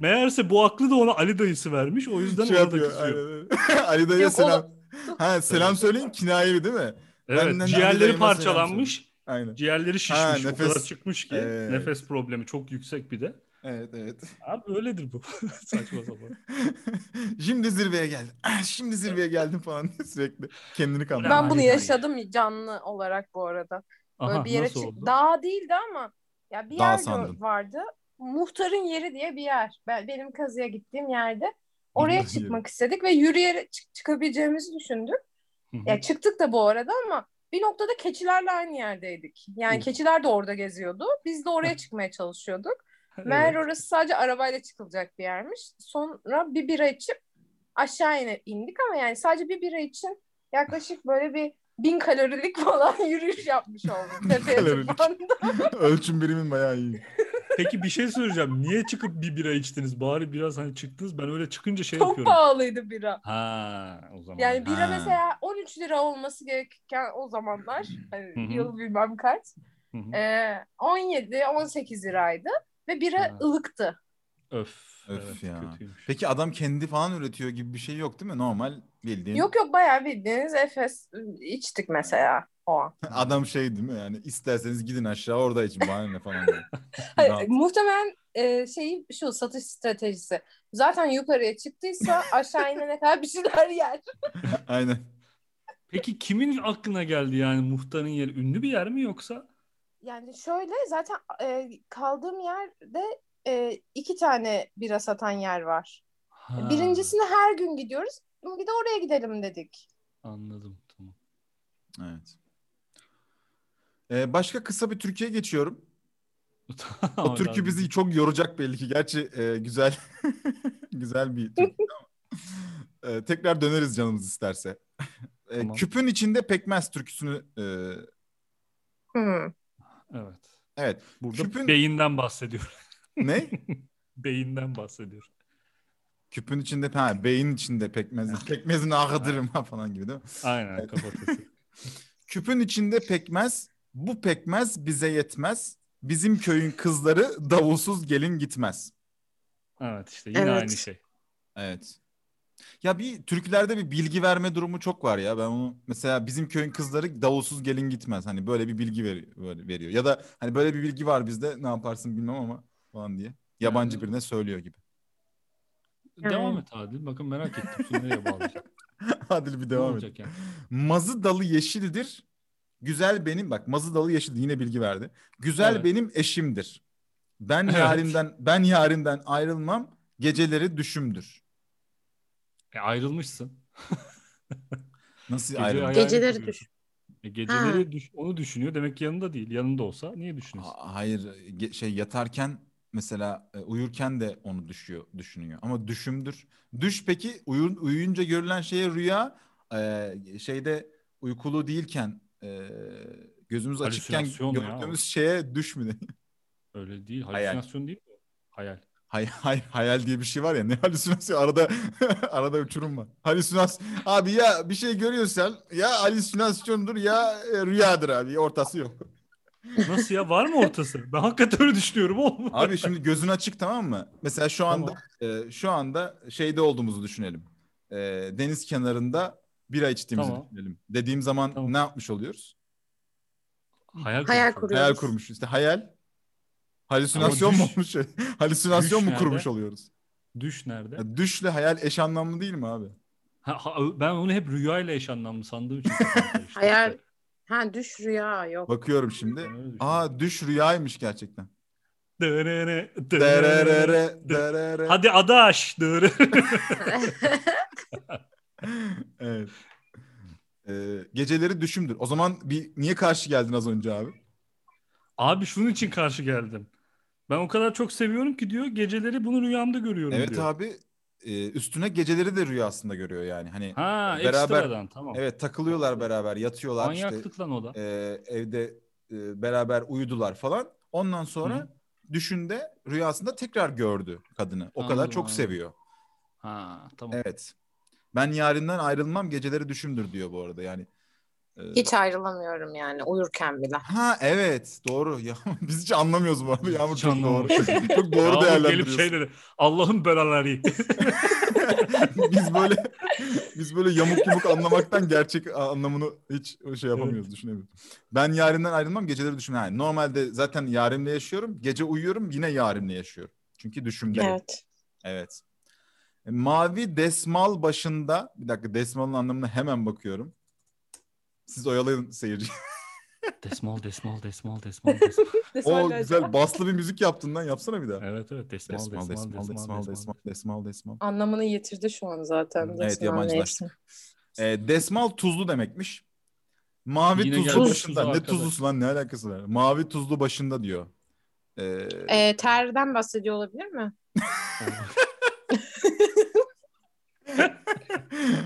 Speaker 1: Meğerse bu aklı da ona Ali dayısı vermiş. O yüzden
Speaker 2: şey
Speaker 1: orada
Speaker 2: yapıyor.
Speaker 1: kızıyor.
Speaker 2: aynen öyle. Ali dayıya
Speaker 3: Yok,
Speaker 2: selam. Ha, selam söyleyin kinayeli değil mi?
Speaker 1: Evet,
Speaker 2: Benden Ali
Speaker 1: ciğerleri
Speaker 2: dayıma selam
Speaker 1: parçalanmış.
Speaker 2: Aynen.
Speaker 1: Ciğerleri şişmiş.
Speaker 2: Ha,
Speaker 1: O kadar
Speaker 2: nefes-
Speaker 1: çıkmış ki.
Speaker 2: Evet.
Speaker 1: Nefes problemi çok yüksek bir de.
Speaker 2: Evet evet.
Speaker 1: Abi öyledir bu. Saçma sapan.
Speaker 2: Şimdi zirveye geldim. Ah, Şimdi zirveye geldim falan diye sürekli kendini kandırıyor.
Speaker 1: Aynen.
Speaker 4: Ben bunu yaşadım canlı olarak bu arada. Böyle
Speaker 1: Aha,
Speaker 4: bir yere
Speaker 1: nasıl
Speaker 4: çık-
Speaker 1: oldu?
Speaker 4: Dağ değildi ama ya bir
Speaker 2: Dağ
Speaker 4: yer gör-
Speaker 2: sandım.
Speaker 4: vardı. Muhtarın yeri diye bir yer. Ben, benim kazıya gittiğim yerde. Oraya
Speaker 2: Muhtarın
Speaker 4: çıkmak istedik ve yürüyerek çık- çıkabileceğimizi düşündük.
Speaker 1: Hı hı.
Speaker 4: Ya çıktık da bu arada ama bir noktada keçilerle aynı yerdeydik. Yani
Speaker 1: Of.
Speaker 4: keçiler de orada geziyordu. Biz de oraya çıkmaya çalışıyorduk.
Speaker 1: Evet.
Speaker 4: Meğer orası sadece arabayla çıkılacak bir yermiş. Sonra bir bira içip aşağı ine- indik ama yani sadece bir bira için yaklaşık böyle bir bin kalorilik falan yürüyüş yapmış olduk. Tepeye
Speaker 2: Kalorilik.
Speaker 1: şey
Speaker 4: tırmandık.
Speaker 2: Ölçüm birimin bayağı iyi.
Speaker 1: Peki bir şey söyleyeceğim. Niye çıkıp bir bira içtiniz? Bari biraz hani çıktınız. Ben öyle çıkınca şey
Speaker 4: Çok
Speaker 1: yapıyorum.
Speaker 4: pahalıydı bira.
Speaker 1: Ha o zaman.
Speaker 4: Yani bira
Speaker 2: Ha.
Speaker 4: mesela 13 lira olması gerekirken o zamanlar
Speaker 1: Hı hı.
Speaker 4: hani yıl bilmem kaç
Speaker 1: Hı hı.
Speaker 4: e, 17-18 liraydı ve bira
Speaker 1: Ha.
Speaker 4: ılıktı.
Speaker 1: Öf.
Speaker 2: Öf
Speaker 1: evet,
Speaker 2: ya.
Speaker 1: Kötüymüş.
Speaker 2: Peki adam kendi falan üretiyor gibi bir şey yok değil mi? Normal bildiğin.
Speaker 4: Yok yok bayağı bildiğiniz Efes içtik mesela o an.
Speaker 2: Adam şey değil mi yani isterseniz gidin aşağı orada için bahane ne falan. diyor.
Speaker 4: Hayır,
Speaker 2: Rahat.
Speaker 4: muhtemelen e, şeyi şu satış stratejisi. Zaten yukarıya çıktıysa aşağı inene kadar bir şeyler yer.
Speaker 2: Aynen.
Speaker 1: Peki kimin aklına geldi yani muhtarın yeri? Ünlü bir yer mi yoksa?
Speaker 4: Yani şöyle zaten e, kaldığım yerde e, iki tane bira satan yer var.
Speaker 1: Ha,
Speaker 4: Birincisine her gün gidiyoruz. Bir de oraya gidelim dedik.
Speaker 1: Anladım tamam.
Speaker 2: Evet. Ee, başka kısa bir Türkiye geçiyorum. O
Speaker 1: Tamam,
Speaker 2: türkü
Speaker 1: ben-
Speaker 2: bizi çok yoracak belli ki. Gerçi e, güzel güzel bir türkü. ama, e, tekrar döneriz canımız isterse. E,
Speaker 1: Tamam.
Speaker 2: Küpün içinde pekmez türküsünü e,
Speaker 4: Hmm.
Speaker 1: Evet.
Speaker 2: evet.
Speaker 1: Burada
Speaker 2: Küpün-
Speaker 1: beyinden bahsediyor.
Speaker 2: Ne?
Speaker 1: beyinden bahsediyor.
Speaker 2: Küpün içinde ha beyin içinde pekmez. Pekmezin ağıdırım ha falan gibi değil mi?
Speaker 1: Aynen kafatası.
Speaker 2: Küpün içinde pekmez. Bu pekmez bize yetmez. Bizim köyün kızları davulsuz gelin gitmez.
Speaker 1: evet işte yine
Speaker 3: Evet.
Speaker 1: aynı şey.
Speaker 2: Evet. Ya bir türkülerde bir bilgi verme durumu çok var ya. Ben onu mesela bizim köyün kızları davulsuz gelin gitmez. Hani böyle bir bilgi veri- böyle veriyor. Ya da hani böyle bir bilgi var bizde ne yaparsın bilmem ama falan diye. Yabancı
Speaker 1: Yani-
Speaker 2: birine söylüyor gibi.
Speaker 1: Devam et Adil. Bakın merak ettim. Şimdi nereye bağlayacak?
Speaker 2: Adil bir
Speaker 1: ne
Speaker 2: devam et.
Speaker 1: olacak yani?
Speaker 2: Mazı dalı yeşildir. Güzel benim bak mazı dalı yeşil yine bilgi verdi. Güzel
Speaker 1: Evet.
Speaker 2: benim eşimdir. Ben
Speaker 1: Evet.
Speaker 2: yarimden ben yarimden ayrılmam. Geceleri düşümdür.
Speaker 1: E, ayrılmışsın.
Speaker 2: Nasıl
Speaker 1: Gece
Speaker 2: ayrılmak?
Speaker 1: hayalini
Speaker 3: Geceleri
Speaker 1: kuruyorsun.
Speaker 3: düş.
Speaker 1: E, geceleri düş- onu düşünüyor. Demek ki yanında değil. Yanında olsa niye düşünüyorsun?
Speaker 2: Ha- Hayır ge- şey yatarken mesela e, uyurken de onu düşüyor düşünüyor ama düşümdür. Düş peki uyur, uyuyunca görülen şeye rüya e, şeyde uykulu değilken e, gözümüz açıkken
Speaker 1: Halüsinasyon ya.
Speaker 2: gördüğümüz şeye düş mü?
Speaker 1: Öyle değil.
Speaker 2: Hayal.
Speaker 1: Halüsinasyon değil mi? Hayal.
Speaker 2: Hay, hay, hayal diye bir şey var ya ne halüsinasyon arada arada uçurum var. Halüsinas abi ya bir şey görüyorsan ya halüsinasyondur ya e, rüyadır abi ortası yok.
Speaker 1: Nasıl ya? Var mı ortası? Ben hakikaten öyle düşünüyorum oğlum.
Speaker 2: Abi şimdi gözün açık tamam mı? Mesela şu
Speaker 1: Tamam.
Speaker 2: anda e, şu anda şeyde olduğumuzu düşünelim. E, deniz kenarında bira içtiğimizi
Speaker 1: Tamam.
Speaker 2: düşünelim. Dediğim zaman
Speaker 1: Tamam.
Speaker 2: ne yapmış oluyoruz?
Speaker 1: Hayal,
Speaker 3: Hayal
Speaker 1: kurmuş.
Speaker 3: kuruyoruz.
Speaker 2: Hayal kurmuş. İşte hayal halüsinasyon mu
Speaker 1: Ama
Speaker 2: olmuş? halüsinasyon
Speaker 1: Düş
Speaker 2: mu
Speaker 1: nerede?
Speaker 2: kurmuş oluyoruz?
Speaker 1: Düş nerede?
Speaker 2: Ya düşle hayal eş anlamlı değil mi abi?
Speaker 1: Ha, ha, ben onu hep rüyayla eş anlamlı sandığım için.
Speaker 3: Hayal- Ha düş rüya yok.
Speaker 2: Bakıyorum şimdi.
Speaker 1: Aa.
Speaker 2: Aa düş rüyaymış gerçekten.
Speaker 1: Dırırı, dırırı.
Speaker 2: Dererere, derere.
Speaker 1: Hadi adaş. dırırı.
Speaker 2: Evet. E, geceleri düşümdür. O zaman bir niye karşı geldin az önce abi?
Speaker 1: Abi şunun için karşı geldim. Ben o kadar çok seviyorum ki diyor geceleri bunu rüyamda görüyorum
Speaker 2: Evet
Speaker 1: diyor.
Speaker 2: abi e, üstüne geceleri de rüyasında görüyor yani. Hani
Speaker 1: Ha
Speaker 2: Beraber-
Speaker 1: ekstradan tamam.
Speaker 2: evet takılıyorlar beraber yatıyorlar
Speaker 1: Manyaklık
Speaker 2: işte
Speaker 1: lan o da.
Speaker 2: e, evde e, beraber uyudular falan. Ondan sonra
Speaker 1: Hı.
Speaker 2: düşünde rüyasında tekrar gördü kadını. O kadar
Speaker 1: Anladım,
Speaker 2: çok
Speaker 1: anladım.
Speaker 2: seviyor.
Speaker 1: Ha tamam.
Speaker 2: Evet. Ben yarinden ayrılmam geceleri düşümdür diyor bu arada yani. E,
Speaker 4: Hiç ayrılamıyorum yani uyurken bile.
Speaker 2: Ha evet doğru. Ya, biz hiç anlamıyoruz bu arada. Yağmur
Speaker 1: Hiç
Speaker 2: çok doğru.
Speaker 1: anlamamışız.
Speaker 2: çok
Speaker 1: Yağmur
Speaker 2: doğru
Speaker 1: gelip
Speaker 2: değerlendiriyorsun.
Speaker 1: şey dedi. Allah'ın belaları.
Speaker 2: biz böyle biz böyle yamuk yumuk anlamaktan gerçek anlamını hiç şey yapamıyoruz düşünemiyoruz. Ben yarimden ayrılmam geceleri düşünüyorum. Yani normalde zaten yarimle yaşıyorum. Gece uyuyorum yine yarimle yaşıyorum. Çünkü düşümde. Evet.
Speaker 4: Evet.
Speaker 2: E, Mavi desmal başında bir dakika desmalın anlamına hemen bakıyorum. Siz oyalayın seyirci.
Speaker 1: desmal desmal desmal desmal desmal.
Speaker 5: Desmalle
Speaker 2: o
Speaker 5: acaba-
Speaker 2: güzel baslı bir müzik yaptığından yapsana bir daha.
Speaker 1: evet evet desmal desmal
Speaker 2: Desmal desmal desmal desmal desmal desmal.
Speaker 5: Anlamını yitirdi şu an zaten.
Speaker 2: Evet,
Speaker 5: Desmalle
Speaker 2: yabancılaştı.
Speaker 5: hepsi.
Speaker 2: E, desmal tuzlu demekmiş. Mavi
Speaker 1: Yine
Speaker 2: tuzlu
Speaker 1: gelmiş
Speaker 2: başında.
Speaker 1: tuzu
Speaker 2: Ne
Speaker 1: arkadaş.
Speaker 2: tuzlusu lan ne alakası var? Mavi tuzlu başında diyor. E,
Speaker 4: Ee, terden bahsediyor olabilir mi?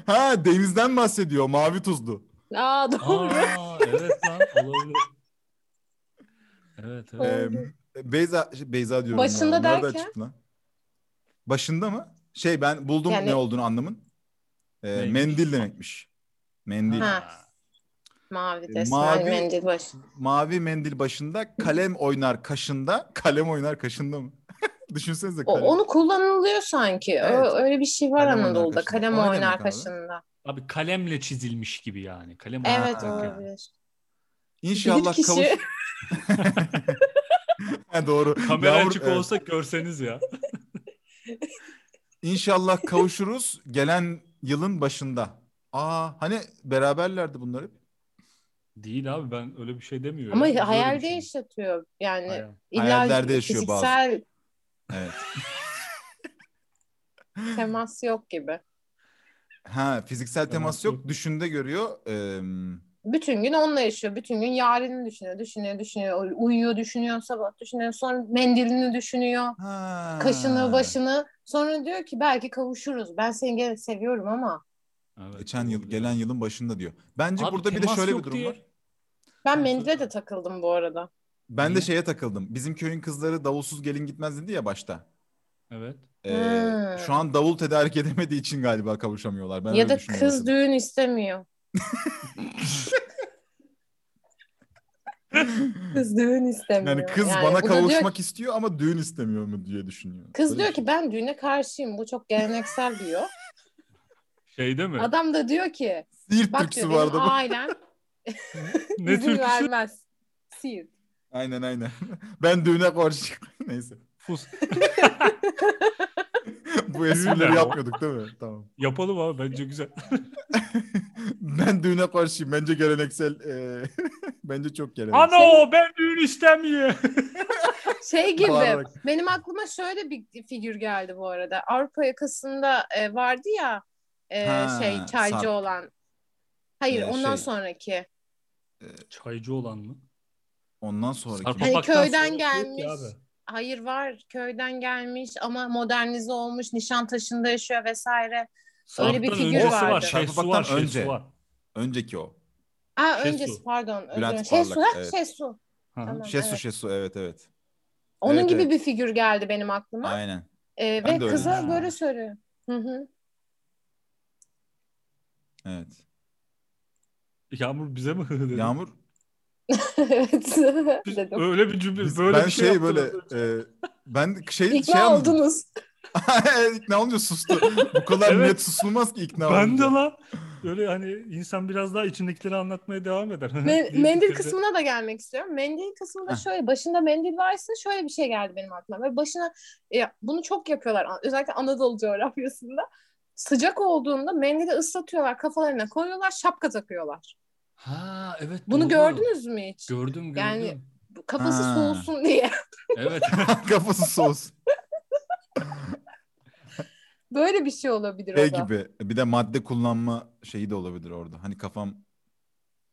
Speaker 2: ha denizden bahsediyor. Mavi tuzlu.
Speaker 5: Aa doğru.
Speaker 1: Aa evet lan olabilir. Evet evet.
Speaker 2: E, Beyza, şey, Beyza diyorum.
Speaker 4: Başında
Speaker 2: Nereden
Speaker 4: derken?
Speaker 2: çıktı lan? Başında mı? Şey ben buldum
Speaker 4: Yani-
Speaker 2: ne olduğunu anlamın. E,
Speaker 1: Neymiş?
Speaker 2: mendil demekmiş. Mendil.
Speaker 1: Ha.
Speaker 4: Mavi
Speaker 2: Ee,
Speaker 4: desmal,
Speaker 2: mavi-
Speaker 4: mendil başı.
Speaker 2: Mavi mendil başında kalem oynar kaşında. Kalem oynar kaşında mı? Düşünsenize
Speaker 4: O,
Speaker 2: kalem.
Speaker 4: onu kullanılıyor sanki. Ö-
Speaker 2: Evet.
Speaker 4: öyle bir şey var
Speaker 2: Kalem oynar
Speaker 4: Anadolu'da.
Speaker 2: kaşında.
Speaker 4: Kalem
Speaker 2: O ne
Speaker 4: oynar
Speaker 2: demek abi?
Speaker 4: kaşında.
Speaker 1: Abi kalemle çizilmiş gibi yani. Kalem
Speaker 4: Evet
Speaker 2: Ha.
Speaker 4: olabilir.
Speaker 2: İnşallah
Speaker 5: Bir kişi-
Speaker 2: kavuş. Ha, doğru.
Speaker 1: Kamera
Speaker 2: Yavru-
Speaker 1: açık
Speaker 2: evet.
Speaker 1: olsa görseniz ya.
Speaker 2: İnşallah kavuşuruz gelen yılın başında. Aa hani beraberlerdi bunlar hep.
Speaker 1: Değil abi ben öyle bir şey demiyorum.
Speaker 4: Ama
Speaker 1: Böyle bir
Speaker 4: hayalde
Speaker 1: şey.
Speaker 4: yaşatıyor. Yani
Speaker 1: Hayal.
Speaker 4: illa
Speaker 2: Hayallerde yaşıyor bazı.
Speaker 4: fiziksel
Speaker 2: Evet.
Speaker 4: temas yok gibi.
Speaker 2: Ha fiziksel temas
Speaker 1: Temas
Speaker 2: yok.
Speaker 1: yok.
Speaker 2: Düşünde görüyor. Ee,
Speaker 4: Bütün gün onunla yaşıyor. Bütün gün yarını düşünüyor, düşünüyor, düşünüyor. Uyuyor, düşünüyor, sabah düşünüyor. Sonra mendilini düşünüyor.
Speaker 2: ha.
Speaker 4: Kaşını, başını. Sonra diyor ki belki kavuşuruz. Ben seni gene seviyorum ama
Speaker 1: Evet,
Speaker 2: Geçen yıl
Speaker 1: olabilir.
Speaker 2: gelen yılın başında diyor. Bence
Speaker 1: Abi
Speaker 2: burada bir de
Speaker 1: temas
Speaker 2: şöyle bir
Speaker 1: yok
Speaker 2: durum
Speaker 1: diye.
Speaker 2: var.
Speaker 4: ben mendile de takıldım bu arada.
Speaker 2: Ben de
Speaker 1: Niye?
Speaker 2: şeye takıldım. Bizim köyün kızları davulsuz gelin gitmez dedi ya başta.
Speaker 1: Evet.
Speaker 2: Ee,
Speaker 4: Ha.
Speaker 2: Şu an davul tedarik edemediği için galiba kavuşamıyorlar. Ben
Speaker 4: ya
Speaker 2: öyle
Speaker 4: da
Speaker 2: düşünüyorum.
Speaker 4: kız düğün istemiyor. kız düğün istemiyor.
Speaker 2: Yani kız
Speaker 4: Yani
Speaker 2: bana
Speaker 4: bu da diyor
Speaker 2: kavuşmak istiyor ama düğün istemiyor mu diye düşünüyor.
Speaker 4: Kız
Speaker 2: Böyle
Speaker 4: diyor
Speaker 2: bir şey.
Speaker 4: ki ben düğüne karşıyım. Bu çok geleneksel diyor.
Speaker 1: Şeyde Şey mi?
Speaker 4: Adam da diyor ki
Speaker 2: Siirt
Speaker 4: bak
Speaker 2: şey. türküsü
Speaker 4: diyor
Speaker 2: vardı bu.
Speaker 4: benim ailem
Speaker 1: ne
Speaker 4: izin
Speaker 1: türküsü?
Speaker 4: vermez. Siirt.
Speaker 2: Aynen aynen. Ben düğüne karşı çıkıyorum. Neyse.
Speaker 1: Fus.
Speaker 2: Bu
Speaker 1: Düğün
Speaker 2: esprileri
Speaker 1: ne o?
Speaker 2: yapmıyorduk değil mi? Tamam.
Speaker 1: Yapalım abi bence güzel.
Speaker 2: Ben düğüne karşıyım. Bence geleneksel. e, bence çok geleneksel.
Speaker 1: Ano ben düğün istemiyorum.
Speaker 4: Şey gibi
Speaker 2: Bağırarak.
Speaker 4: benim aklıma şöyle bir figür geldi bu arada. Avrupa yakasında e, vardı ya e,
Speaker 2: Ha,
Speaker 4: şey çaycı
Speaker 2: Sarp.
Speaker 4: olan. Hayır
Speaker 2: Ee,
Speaker 4: ondan
Speaker 2: şey.
Speaker 4: sonraki.
Speaker 1: Çaycı olan mı?
Speaker 2: Ondan sonraki.
Speaker 4: Hani
Speaker 1: Papaktan
Speaker 4: köyden
Speaker 1: sonrası yok ki
Speaker 4: gelmiş.
Speaker 1: abi.
Speaker 4: Hayır var köyden gelmiş ama modernize olmuş Nişantaşı'nda yaşıyor vesaire. Öyle bir
Speaker 1: Sarp'tan
Speaker 4: figür
Speaker 1: öncesi
Speaker 4: vardı.
Speaker 1: var. Şehsu var.
Speaker 2: Sarp'tan
Speaker 1: Şehsu
Speaker 2: önce.
Speaker 1: var.
Speaker 2: Önceki o.
Speaker 4: Aa
Speaker 1: Şesu.
Speaker 4: öncesi pardon. özür
Speaker 2: Şey Bülent
Speaker 4: dilerim. Şesu
Speaker 2: Parlak,
Speaker 4: ha
Speaker 2: evet.
Speaker 4: Şesu.
Speaker 1: Hı hı.
Speaker 4: Tamam,
Speaker 2: Şesu
Speaker 4: evet.
Speaker 2: Şesu evet evet.
Speaker 4: Onun
Speaker 2: Evet,
Speaker 4: gibi
Speaker 2: evet.
Speaker 4: bir figür geldi benim aklıma.
Speaker 2: Aynen.
Speaker 4: E,
Speaker 2: Ben
Speaker 4: ve
Speaker 2: de öyle
Speaker 4: kıza
Speaker 1: düşündüm.
Speaker 4: böyle söylüyor. Hı hı.
Speaker 2: Evet.
Speaker 1: Yağmur bize mi hı hı dedi?
Speaker 2: Yağmur.
Speaker 4: evet
Speaker 1: Biz-
Speaker 4: dedim.
Speaker 1: Öyle bir cümle
Speaker 2: biz-
Speaker 1: böyle
Speaker 2: ben
Speaker 1: bir
Speaker 2: şey,
Speaker 1: şey, yaptılar.
Speaker 2: böyle. e, ben şey,
Speaker 4: İkna
Speaker 2: şey anladım.
Speaker 4: oldunuz.
Speaker 2: ikna olunca sustu. Bu kadar
Speaker 1: Evet.
Speaker 2: net susulmaz ki ikna
Speaker 1: Ben de
Speaker 2: olunca.
Speaker 1: lan. Öyle hani insan biraz daha içindekileri anlatmaya devam eder.
Speaker 4: Me-
Speaker 1: Deyip
Speaker 4: mendil
Speaker 1: bitirdi.
Speaker 4: kısmına da gelmek istiyorum. Mendil kısmında
Speaker 2: Heh.
Speaker 4: şöyle başında mendil varsa şöyle bir şey geldi benim aklıma. Böyle başına e, bunu çok yapıyorlar. An- Özellikle Anadolu coğrafyasında. Sıcak olduğunda mendili ıslatıyorlar, kafalarına koyuyorlar, şapka takıyorlar.
Speaker 1: Ha evet.
Speaker 4: Bunu
Speaker 1: doğru.
Speaker 4: gördünüz mü hiç?
Speaker 1: Gördüm gördüm.
Speaker 4: Yani- Bu Kafası
Speaker 2: Ha.
Speaker 4: soğusun diye.
Speaker 1: Evet.
Speaker 2: Kafası soğusun.
Speaker 4: Böyle bir şey olabilir
Speaker 2: Şey
Speaker 4: o da.
Speaker 2: gibi bir de madde kullanma şeyi de olabilir orada. Hani kafam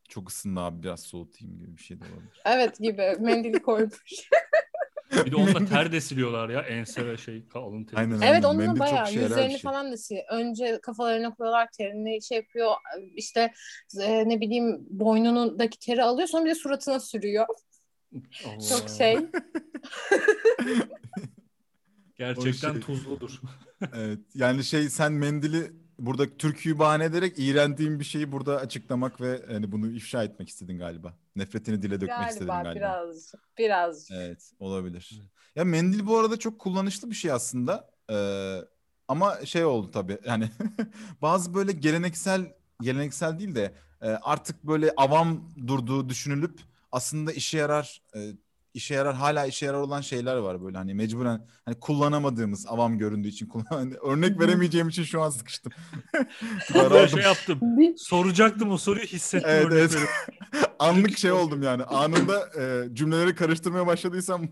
Speaker 2: Çok ısındı abi biraz soğutayım gibi bir şey de olabilir.
Speaker 4: Evet gibi mendili koymuş.
Speaker 1: Bir de onunla ter de siliyorlar ya ense ve şey ka- alın teri.
Speaker 2: Aynen,
Speaker 4: evet
Speaker 2: aynen.
Speaker 4: onunla
Speaker 2: Mendil çok
Speaker 4: bayağı
Speaker 2: işe yarar bir
Speaker 4: yüzlerini
Speaker 2: şey.
Speaker 4: falan da siliyor. Önce kafalarına koyuyorlar terini şey yapıyor işte e, ne bileyim boynunundaki teri alıyor sonra bir de suratına sürüyor.
Speaker 1: Allah.
Speaker 2: Hmm.
Speaker 4: Çok şey.
Speaker 1: Gerçekten
Speaker 2: O şey.
Speaker 1: tuzludur.
Speaker 2: Evet. Yani şey sen mendili burada türküyü bahane ederek iğrendiğin bir şeyi burada açıklamak ve hani bunu ifşa etmek istedin galiba. Nefretini dile dökmek istedin
Speaker 4: galiba
Speaker 2: galiba.
Speaker 4: biraz biraz.
Speaker 2: Evet, olabilir.
Speaker 1: Evet.
Speaker 2: Ya mendil bu arada çok kullanışlı bir şey aslında. Ee, ama şey oldu tabii. Yani bazı böyle geleneksel geleneksel değil de e, artık böyle avam durduğu düşünülüp aslında işe yarar e, işe yarar hala işe yarar olan şeyler var böyle hani mecburen hani kullanamadığımız avam göründüğü için kullan hani örnek veremeyeceğim için şu an sıkıştım.
Speaker 1: Ben
Speaker 2: Daraldım.
Speaker 1: şey yaptım.
Speaker 4: Bir-
Speaker 1: Soracaktım o soruyu hissettim.
Speaker 2: Evet,
Speaker 1: örnek
Speaker 2: evet.
Speaker 1: veriyorum.
Speaker 2: Anlık şey oldum yani. Anında e, cümleleri karıştırmaya başladıysam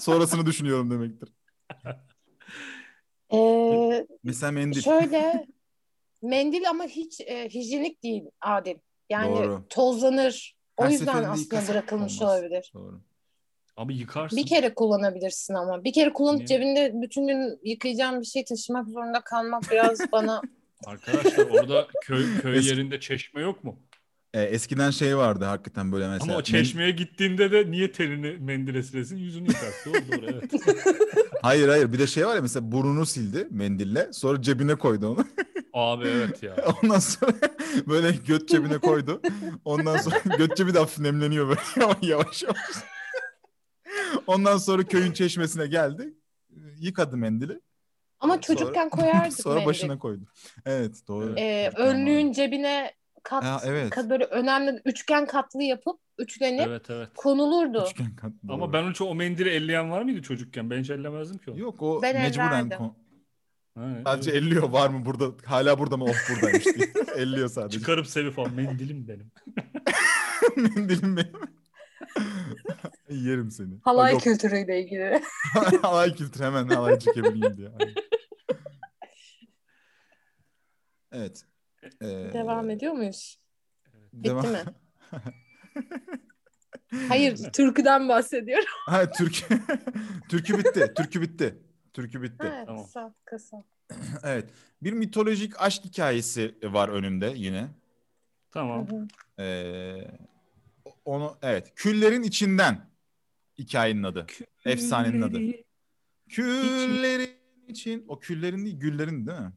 Speaker 2: sonrasını düşünüyorum demektir.
Speaker 4: Ee,
Speaker 2: Mesela mendil.
Speaker 4: şöyle mendil ama hiç e, hijyenik değil Adil. Yani
Speaker 2: Doğru.
Speaker 4: tozlanır. O
Speaker 2: Her
Speaker 4: yüzden
Speaker 2: seferinde
Speaker 4: aslında
Speaker 2: yıkasak
Speaker 4: bırakılmış
Speaker 2: olmaz.
Speaker 4: olabilir.
Speaker 2: Doğru.
Speaker 1: Abi yıkarsın.
Speaker 4: Bir kere kullanabilirsin ama. Bir kere kullanıp
Speaker 1: Niye?
Speaker 4: cebinde bütün gün yıkayacağın bir şey taşımak zorunda kalmak biraz bana
Speaker 1: Arkadaşlar orada köy köy
Speaker 2: Eski-
Speaker 1: yerinde çeşme yok mu?
Speaker 2: E, eskiden şey vardı hakikaten böyle mesela.
Speaker 1: Ama o çeşmeye gittiğinde de niye telini mendile silesin yüzünü yıkarsın. Doğru doğru evet.
Speaker 2: Men- Hayır hayır bir de şey var ya mesela burnunu sildi mendille sonra cebine koydu onu.
Speaker 1: Abi evet ya.
Speaker 2: Ondan sonra böyle göt cebine koydu. Ondan sonra göt cebi de hafif nemleniyor böyle ama yavaş yavaş. Ondan sonra köyün çeşmesine geldi. Yıkadı mendili.
Speaker 4: ama
Speaker 2: Sonra-
Speaker 4: çocukken koyardık
Speaker 2: Sonra
Speaker 4: mendil.
Speaker 2: başına koydu. Evet doğru.
Speaker 4: Ee,
Speaker 2: Çocukken
Speaker 4: önlüğün cebine kat,
Speaker 2: Ha, evet.
Speaker 4: kat- böyle önemli üçgen katlı yapıp üçlenip
Speaker 1: Evet evet.
Speaker 4: konulurdu.
Speaker 2: Üçgen kat,
Speaker 1: Ama
Speaker 2: doğru.
Speaker 1: ben hiç o mendili elleyen var mıydı çocukken? Ben hiç ellemezdim ki onu.
Speaker 2: Yok o
Speaker 4: Ben
Speaker 2: mecburen
Speaker 4: ellerdim.
Speaker 2: kon-
Speaker 1: Ha,
Speaker 2: sadece
Speaker 1: evet.
Speaker 2: elliyor var mı burada hala burada mı oh buradaymış diye. elliyor sadece.
Speaker 1: Çıkarıp sevip falan mendilim benim.
Speaker 2: Mendilim benim. Yerim seni.
Speaker 4: Halay
Speaker 2: Yok,
Speaker 4: kültürüyle ilgili.
Speaker 2: halay kültürü hemen halay çekebileyim diye. Aynen. Evet. Ee,
Speaker 4: Devam ediyor muyuz?
Speaker 2: devam-
Speaker 4: mi? Hayır, türküden bahsediyorum.
Speaker 2: ha, türkü. türkü bitti. Türkü bitti. Türkü bitti.
Speaker 4: Ha,
Speaker 1: Tamam.
Speaker 4: kısa, kısa.
Speaker 2: Evet. Bir mitolojik aşk hikayesi var önümde yine.
Speaker 1: Tamam.
Speaker 4: Hı hı.
Speaker 2: Ee, onu evet. Küllerin içinden hikayenin adı. Efsanenin adı. Küllerin için. O küllerin değil, güllerin değil mi?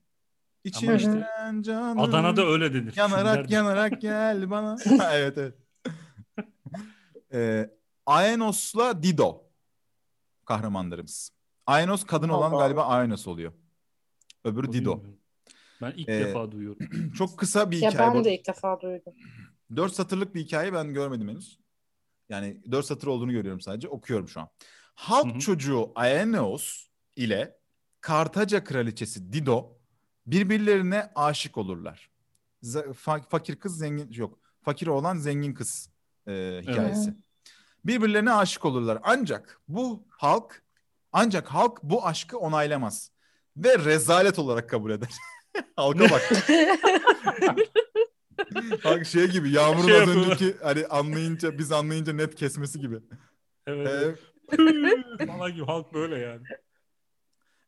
Speaker 2: İçinden
Speaker 1: işte
Speaker 2: canım.
Speaker 1: Adana'da öyle denir.
Speaker 2: Yanarak
Speaker 1: Kimler-
Speaker 2: yanarak gel bana. Ha, evet evet. Ee, Aenos'la Dido kahramanlarımız. Aenos kadın olan
Speaker 4: Allah.
Speaker 2: galiba Aenos oluyor. Öbürü
Speaker 1: Bu
Speaker 2: Dido.
Speaker 1: bilmiyorum. Ben ilk
Speaker 2: Ee,
Speaker 1: defa duyuyorum.
Speaker 2: Çok kısa bir
Speaker 4: Ya
Speaker 2: hikaye. bu.
Speaker 4: ben de ilk defa duydum.
Speaker 2: Dört satırlık bir hikaye ben görmedim henüz. Yani dört satır olduğunu görüyorum sadece. Okuyorum şu an. Halk
Speaker 1: Hı hı.
Speaker 2: çocuğu Aeneos ile Kartaca kraliçesi Dido birbirlerine aşık olurlar. Z- fa- fakir kız zengin yok. Fakir olan zengin kız e, hikayesi. Birbirlerine aşık olurlar. Ancak bu halk ancak halk bu aşkı onaylamaz ve rezalet olarak kabul eder. Halka bak. Bak şey gibi Yağmur'un
Speaker 1: Şey
Speaker 2: az
Speaker 1: yapıyorlar.
Speaker 2: önceki hani anlayınca biz anlayınca net kesmesi gibi.
Speaker 1: Evet.
Speaker 2: Ee,
Speaker 1: evet. Falan gibi halk böyle yani.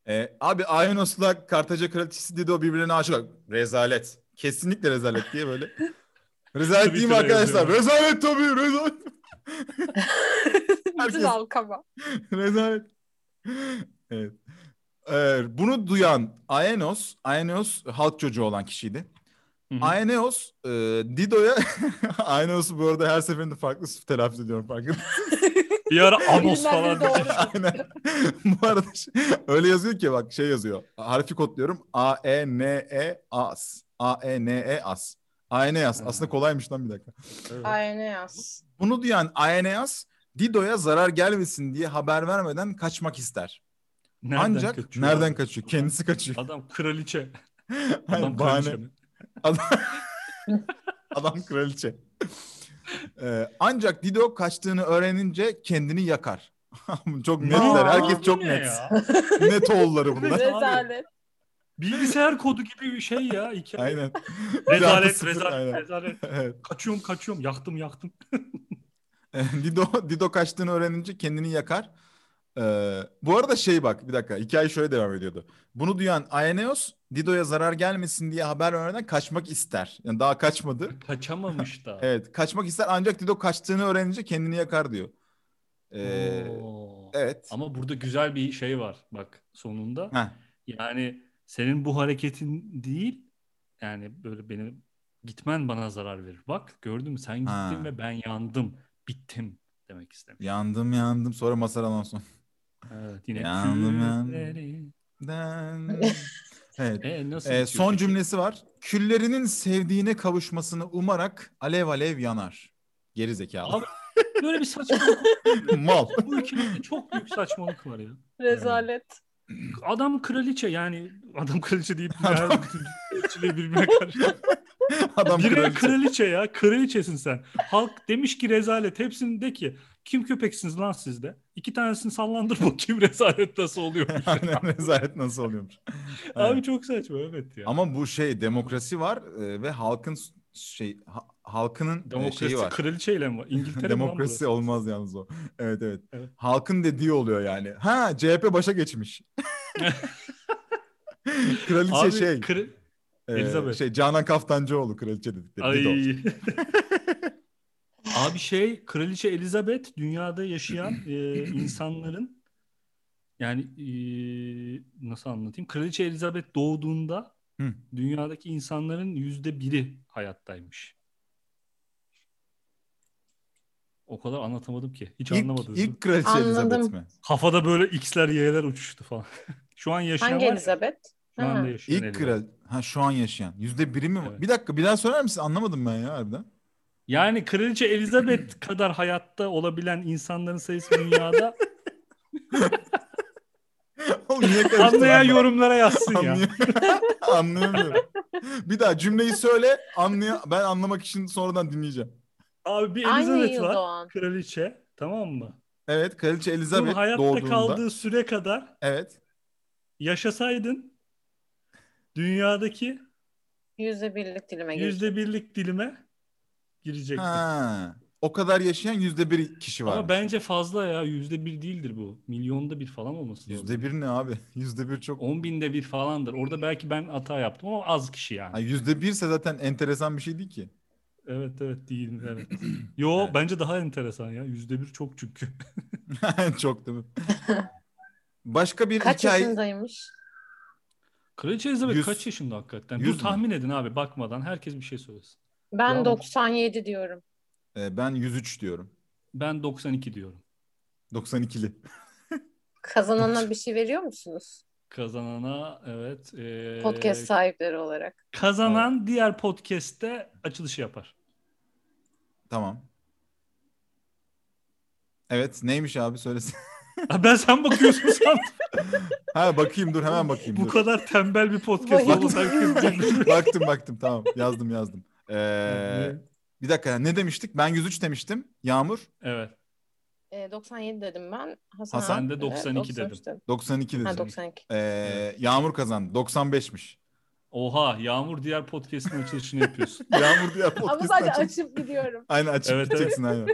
Speaker 2: e, abi Aenos'la Kartaca kraliçesi Dido birbirine aşık. Rezalet. Kesinlikle rezalet diye böyle. Rezalet değil mi
Speaker 1: Twitter'a
Speaker 2: arkadaşlar?
Speaker 1: yazıyorlar.
Speaker 2: Rezalet tabii rezalet.
Speaker 4: Bütün halkama.
Speaker 2: Rezalet. Evet. Ee, bunu duyan Aenos, Aenos halk çocuğu olan kişiydi.
Speaker 1: Hı hı.
Speaker 2: Aeneos e, Dido'ya Aeneos'u bu arada her seferinde farklı telaffuz ediyorum farkında.
Speaker 1: Bir ara Amos
Speaker 4: Bilmem ne
Speaker 1: falan.
Speaker 4: doğru.
Speaker 2: Aynen. bu arada şey- öyle yazıyor ki bak şey yazıyor. Harfi kodluyorum. A E N E As. A E N E As. Aeneas.
Speaker 1: Ha.
Speaker 2: Aslında kolaymış lan bir dakika.
Speaker 1: Evet.
Speaker 4: Aynen yaz.
Speaker 2: Bunu duyan E Aeneas Dido'ya zarar gelmesin diye haber vermeden kaçmak ister.
Speaker 1: Nereden
Speaker 2: Ancak
Speaker 1: kaçıyor
Speaker 2: nereden
Speaker 1: abi?
Speaker 2: kaçıyor? Kendisi kaçıyor.
Speaker 1: Adam kraliçe.
Speaker 2: Aynen,
Speaker 1: Adam
Speaker 2: bahane.
Speaker 1: kraliçe. mi?
Speaker 2: Adam, Adam kraliçe. Ee, ancak Dido kaçtığını öğrenince kendini yakar. çok netler.
Speaker 1: Aa,
Speaker 2: Herkes
Speaker 1: bu
Speaker 2: çok
Speaker 1: ne
Speaker 2: net.
Speaker 1: ya?
Speaker 2: Net oğulları bunlar.
Speaker 1: Evet.
Speaker 4: Rezalet.
Speaker 1: Bilgisayar kodu gibi bir şey ya hikaye.
Speaker 2: Aynen.
Speaker 1: Rezalet,
Speaker 2: Sıfır,
Speaker 1: rezalet,
Speaker 2: aynen.
Speaker 1: rezalet.
Speaker 2: Evet.
Speaker 1: Kaçıyorum, kaçıyorum. Yaktım, yaktım.
Speaker 2: Dido, Dido kaçtığını öğrenince kendini yakar. Ee, bu arada şey bak bir dakika hikaye şöyle devam ediyordu. Bunu duyan Aeneos Dido'ya zarar gelmesin diye haber vermeden kaçmak ister. Yani daha kaçmadı.
Speaker 1: Kaçamamış da.
Speaker 2: Evet kaçmak ister ancak Dido kaçtığını öğrenince kendini yakar diyor. Ee,
Speaker 1: Oo.
Speaker 2: evet.
Speaker 1: Ama burada güzel bir şey var bak sonunda.
Speaker 2: Heh.
Speaker 1: Yani senin bu hareketin değil yani böyle benim gitmen bana zarar verir. Bak gördün mü sen gittin
Speaker 2: Ha.
Speaker 1: ve ben yandım. Bittim demek istemiş.
Speaker 2: Yandım yandım sonra Masar Alonso.
Speaker 1: Evet yine
Speaker 2: Yandım, yandım.
Speaker 1: külleri.
Speaker 2: Den. evet.
Speaker 1: E, nasıl
Speaker 2: Ee,
Speaker 1: bitiyor
Speaker 2: son
Speaker 1: peki?
Speaker 2: cümlesi var. Küllerinin sevdiğine kavuşmasını umarak alev alev yanar. Geri zekalı.
Speaker 1: Abi- Böyle bir saçmalık.
Speaker 2: Mal.
Speaker 1: bu ülkede çok büyük saçmalık var ya. Ee,
Speaker 4: Rezalet.
Speaker 1: Adam kraliçe yani adam kraliçe deyip dünya kraliçeliği birbirine karıştı.
Speaker 2: Adam
Speaker 1: Biri
Speaker 2: kraliçe.
Speaker 1: kraliçe. ya kraliçesin sen. Halk demiş ki rezalet hepsini de ki kim köpeksiniz lan sizde? İki tanesini sallandır bakayım rezalet nasıl oluyor.
Speaker 2: Aynen rezalet nasıl oluyormuş.
Speaker 1: Abi
Speaker 2: Evet.
Speaker 1: çok saçma evet ya.
Speaker 2: Ama bu şey demokrasi var e, ve halkın s- şey ha- halkının e,
Speaker 1: Demokrasi
Speaker 2: şeyi var.
Speaker 1: kraliçeyle mi? var? İngiltere
Speaker 2: Demokrasi
Speaker 1: mi lan
Speaker 2: olmaz yalnız o. Evet, evet
Speaker 1: Evet.
Speaker 2: Halkın dediği oluyor yani. Ha CHP başa geçmiş. kraliçe
Speaker 1: burası? Abi,
Speaker 2: şey.
Speaker 1: kra-
Speaker 2: e,
Speaker 1: Elizabeth.
Speaker 2: şey Canan Kaftancıoğlu kraliçe dedikleri. Dido.
Speaker 1: Ay. Abi şey Kraliçe Elizabeth dünyada yaşayan e, insanların yani e, nasıl anlatayım? Kraliçe Elizabeth doğduğunda
Speaker 2: Hı.
Speaker 1: dünyadaki insanların yüzde biri hayattaymış. O kadar anlatamadım ki. Hiç anlamadım.
Speaker 2: İlk, ilk kraliçe Elizabeth
Speaker 3: Anladım.
Speaker 2: mi?
Speaker 1: Kafada böyle X'ler Y'ler uçuştu falan. Şu an yaşayan
Speaker 4: Hangi
Speaker 1: şey var ya,
Speaker 4: Elizabeth?
Speaker 1: Şu anda
Speaker 4: Ha.
Speaker 1: yaşayan
Speaker 2: İlk
Speaker 1: Elizabeth.
Speaker 2: kral. Ha şu an yaşayan. Yüzde biri mi? var?
Speaker 1: Evet.
Speaker 2: Bir dakika bir daha söyler misin? Anlamadım ben ya harbiden.
Speaker 1: Yani Kraliçe Elizabeth kadar hayatta olabilen insanların sayısı dünyada
Speaker 2: Oğlum niye karıştırdın
Speaker 1: Anlayan
Speaker 2: ben?
Speaker 1: yorumlara yazsın ya.
Speaker 2: Anlay- Anlayamıyorum. Bir daha cümleyi söyle. Anlay ben anlamak için sonradan dinleyeceğim.
Speaker 1: Abi bir
Speaker 4: Aynı
Speaker 1: Elizabeth
Speaker 4: yıl
Speaker 1: var.
Speaker 4: doğan.
Speaker 1: Kraliçe. Tamam mı?
Speaker 2: Evet kraliçe
Speaker 1: Bunun
Speaker 2: Elizabeth
Speaker 1: hayatta
Speaker 2: doğduğunda.
Speaker 1: kaldığı süre kadar
Speaker 2: Evet.
Speaker 1: yaşasaydın dünyadaki
Speaker 4: Yüzde birlik dilime girdi.
Speaker 1: yüzde birlik dilime girecektin.
Speaker 2: Ha. O kadar yaşayan yüzde bir kişi var.
Speaker 1: Ama bence fazla ya. Yüzde bir değildir bu. Milyonda bir falan olması lazım.
Speaker 2: Yüzde bir ne abi? Yüzde bir çok.
Speaker 1: On binde bir falandır. Orada belki ben hata yaptım ama az kişi yani.
Speaker 2: Ha, Yüzde birse zaten enteresan bir şey değil ki.
Speaker 1: Evet evet değil. Evet. Yo
Speaker 2: Evet.
Speaker 1: bence daha enteresan ya. Yüzde bir çok çünkü.
Speaker 2: çok değil mi? Başka bir
Speaker 4: Kaç
Speaker 2: hikaye.
Speaker 4: yaşındaymış?
Speaker 1: Kraliçe Elizabeth
Speaker 2: Yüz-
Speaker 1: kaç yaşında hakikaten?
Speaker 2: Yüz
Speaker 1: Dur
Speaker 2: mü?
Speaker 1: tahmin edin abi bakmadan. Herkes bir şey söylesin.
Speaker 4: Ben
Speaker 1: Doğan.
Speaker 4: 97 diyorum.
Speaker 2: Ee, ben 103 diyorum.
Speaker 1: Ben 92 diyorum.
Speaker 2: 92'li.
Speaker 4: Kazanana bir şey veriyor musunuz?
Speaker 1: Kazanana evet. eee,
Speaker 4: Podcast sahipleri olarak.
Speaker 1: Kazanan diğer podcast'te açılışı yapar.
Speaker 2: Tamam. Evet neymiş abi söylesin.
Speaker 1: Ha, ben sen bakıyorsun sandım.
Speaker 2: ha bakayım dur hemen bakayım.
Speaker 1: Bu
Speaker 2: dur.
Speaker 1: kadar tembel bir podcast olmasa herkes dinler.
Speaker 2: baktım baktım tamam yazdım yazdım. Ee, bir dakika ne demiştik? Ben 103 demiştim. Yağmur
Speaker 1: evet.
Speaker 4: E, 97 dedim ben. Hasan,
Speaker 2: Hasan,
Speaker 4: abi
Speaker 1: ben de 92 dedim.
Speaker 4: 93
Speaker 2: 92 dedi.
Speaker 4: Ha 92.
Speaker 2: Ee, Yağmur kazandı. 95'miş.
Speaker 1: Oha Yağmur diğer podcast'in açılışını yapıyorsun.
Speaker 2: Yağmur diye
Speaker 4: Ama
Speaker 2: podcast
Speaker 4: sadece
Speaker 2: açıp.
Speaker 4: açıp gidiyorum.
Speaker 2: Aynen açıp
Speaker 1: Evet,
Speaker 2: gideceksin aynen.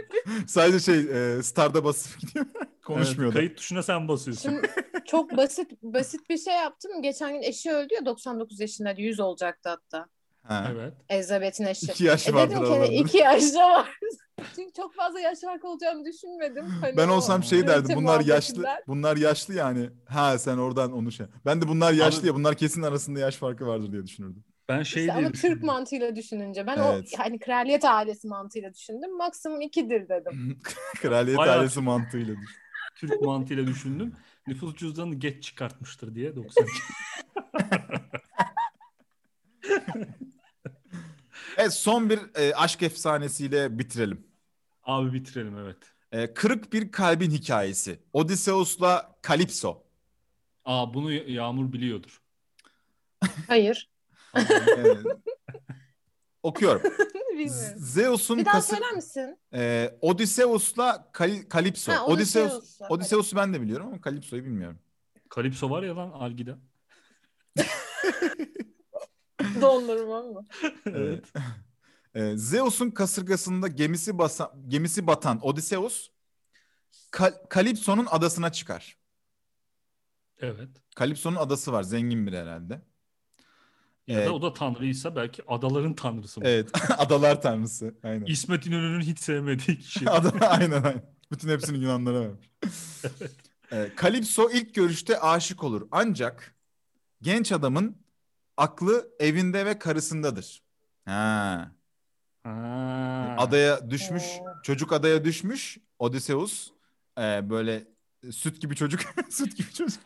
Speaker 2: sadece şey e, starda basıp gidiyor. Konuşmuyor
Speaker 1: Evet,
Speaker 2: da.
Speaker 1: kayıt tuşuna sen basıyorsun.
Speaker 4: Şimdi çok basit basit bir şey yaptım. Geçen gün eşi öldü ya 99 yaşında 100 olacaktı hatta.
Speaker 2: Ha.
Speaker 1: evet.
Speaker 4: Elizabeth'in eşi.
Speaker 2: İki yaş
Speaker 4: E
Speaker 2: vardır
Speaker 4: dedim ki
Speaker 2: aralarında.
Speaker 4: hani iki yaşta var. Çünkü çok fazla yaş farkı olacağını düşünmedim. Hani
Speaker 2: Ben
Speaker 4: o
Speaker 2: olsam şey
Speaker 4: kraliçe
Speaker 2: derdim bunlar yaşlı
Speaker 4: muhabbetinden.
Speaker 2: bunlar yaşlı yani. Ha sen oradan onu şey. Ben de bunlar yaşlı ya bunlar kesin arasında yaş farkı vardır diye düşünürdüm.
Speaker 1: Ben şey
Speaker 4: İşte
Speaker 1: diye
Speaker 4: ama Türk
Speaker 1: düşündüm.
Speaker 4: mantığıyla düşününce ben
Speaker 2: Evet.
Speaker 4: o hani kraliyet ailesi mantığıyla düşündüm. Maksimum ikidir dedim.
Speaker 2: Kraliyet
Speaker 1: Bayağı-
Speaker 2: ailesi mantığıyla düşün.
Speaker 1: Türk mantığıyla düşündüm. Nüfus cüzdanını geç çıkartmıştır diye 92.
Speaker 2: Evet son bir e, aşk efsanesiyle bitirelim.
Speaker 1: Abi bitirelim evet.
Speaker 2: E, kırık bir kalbin hikayesi. Odysseus'la Kalipso.
Speaker 1: Aa bunu Ya- Yağmur biliyordur.
Speaker 4: Hayır.
Speaker 2: E, okuyorum. Z-
Speaker 4: Bilmiyorum.
Speaker 2: Zeus'un
Speaker 4: Bir daha
Speaker 2: kası...
Speaker 4: söyler misin?
Speaker 2: E, Odysseus'la Kal- Kalipso.
Speaker 4: Ha,
Speaker 2: Odysseus,
Speaker 4: Odysseus'la.
Speaker 2: Odysseus'u ben de biliyorum ama Kalipso'yu bilmiyorum.
Speaker 1: Kalipso var ya lan Algida.
Speaker 4: Dondurma mı?
Speaker 1: Evet.
Speaker 2: Ee, Zeus'un kasırgasında gemisi basa, gemisi batan Odysseus Kal- Kalipso'nun adasına çıkar.
Speaker 1: evet.
Speaker 2: Kalipso'nun adası var. Zengin bir herhalde.
Speaker 1: Ya
Speaker 2: Evet.
Speaker 1: da o da tanrıysa belki adaların tanrısı. mı?
Speaker 2: Evet. Adalar tanrısı. Aynen.
Speaker 1: İsmet İnönü'nün hiç sevmediği kişi.
Speaker 2: Ada, aynen aynen. Bütün hepsini Yunanlara vermiş. Ee, Kalipso ilk görüşte aşık olur. Ancak genç adamın aklı evinde ve karısındadır. Ha.
Speaker 1: Ha.
Speaker 2: Adaya düşmüş.
Speaker 4: Oo.
Speaker 2: Çocuk adaya düşmüş. Odysseus e, böyle süt gibi çocuk. süt gibi çocuk.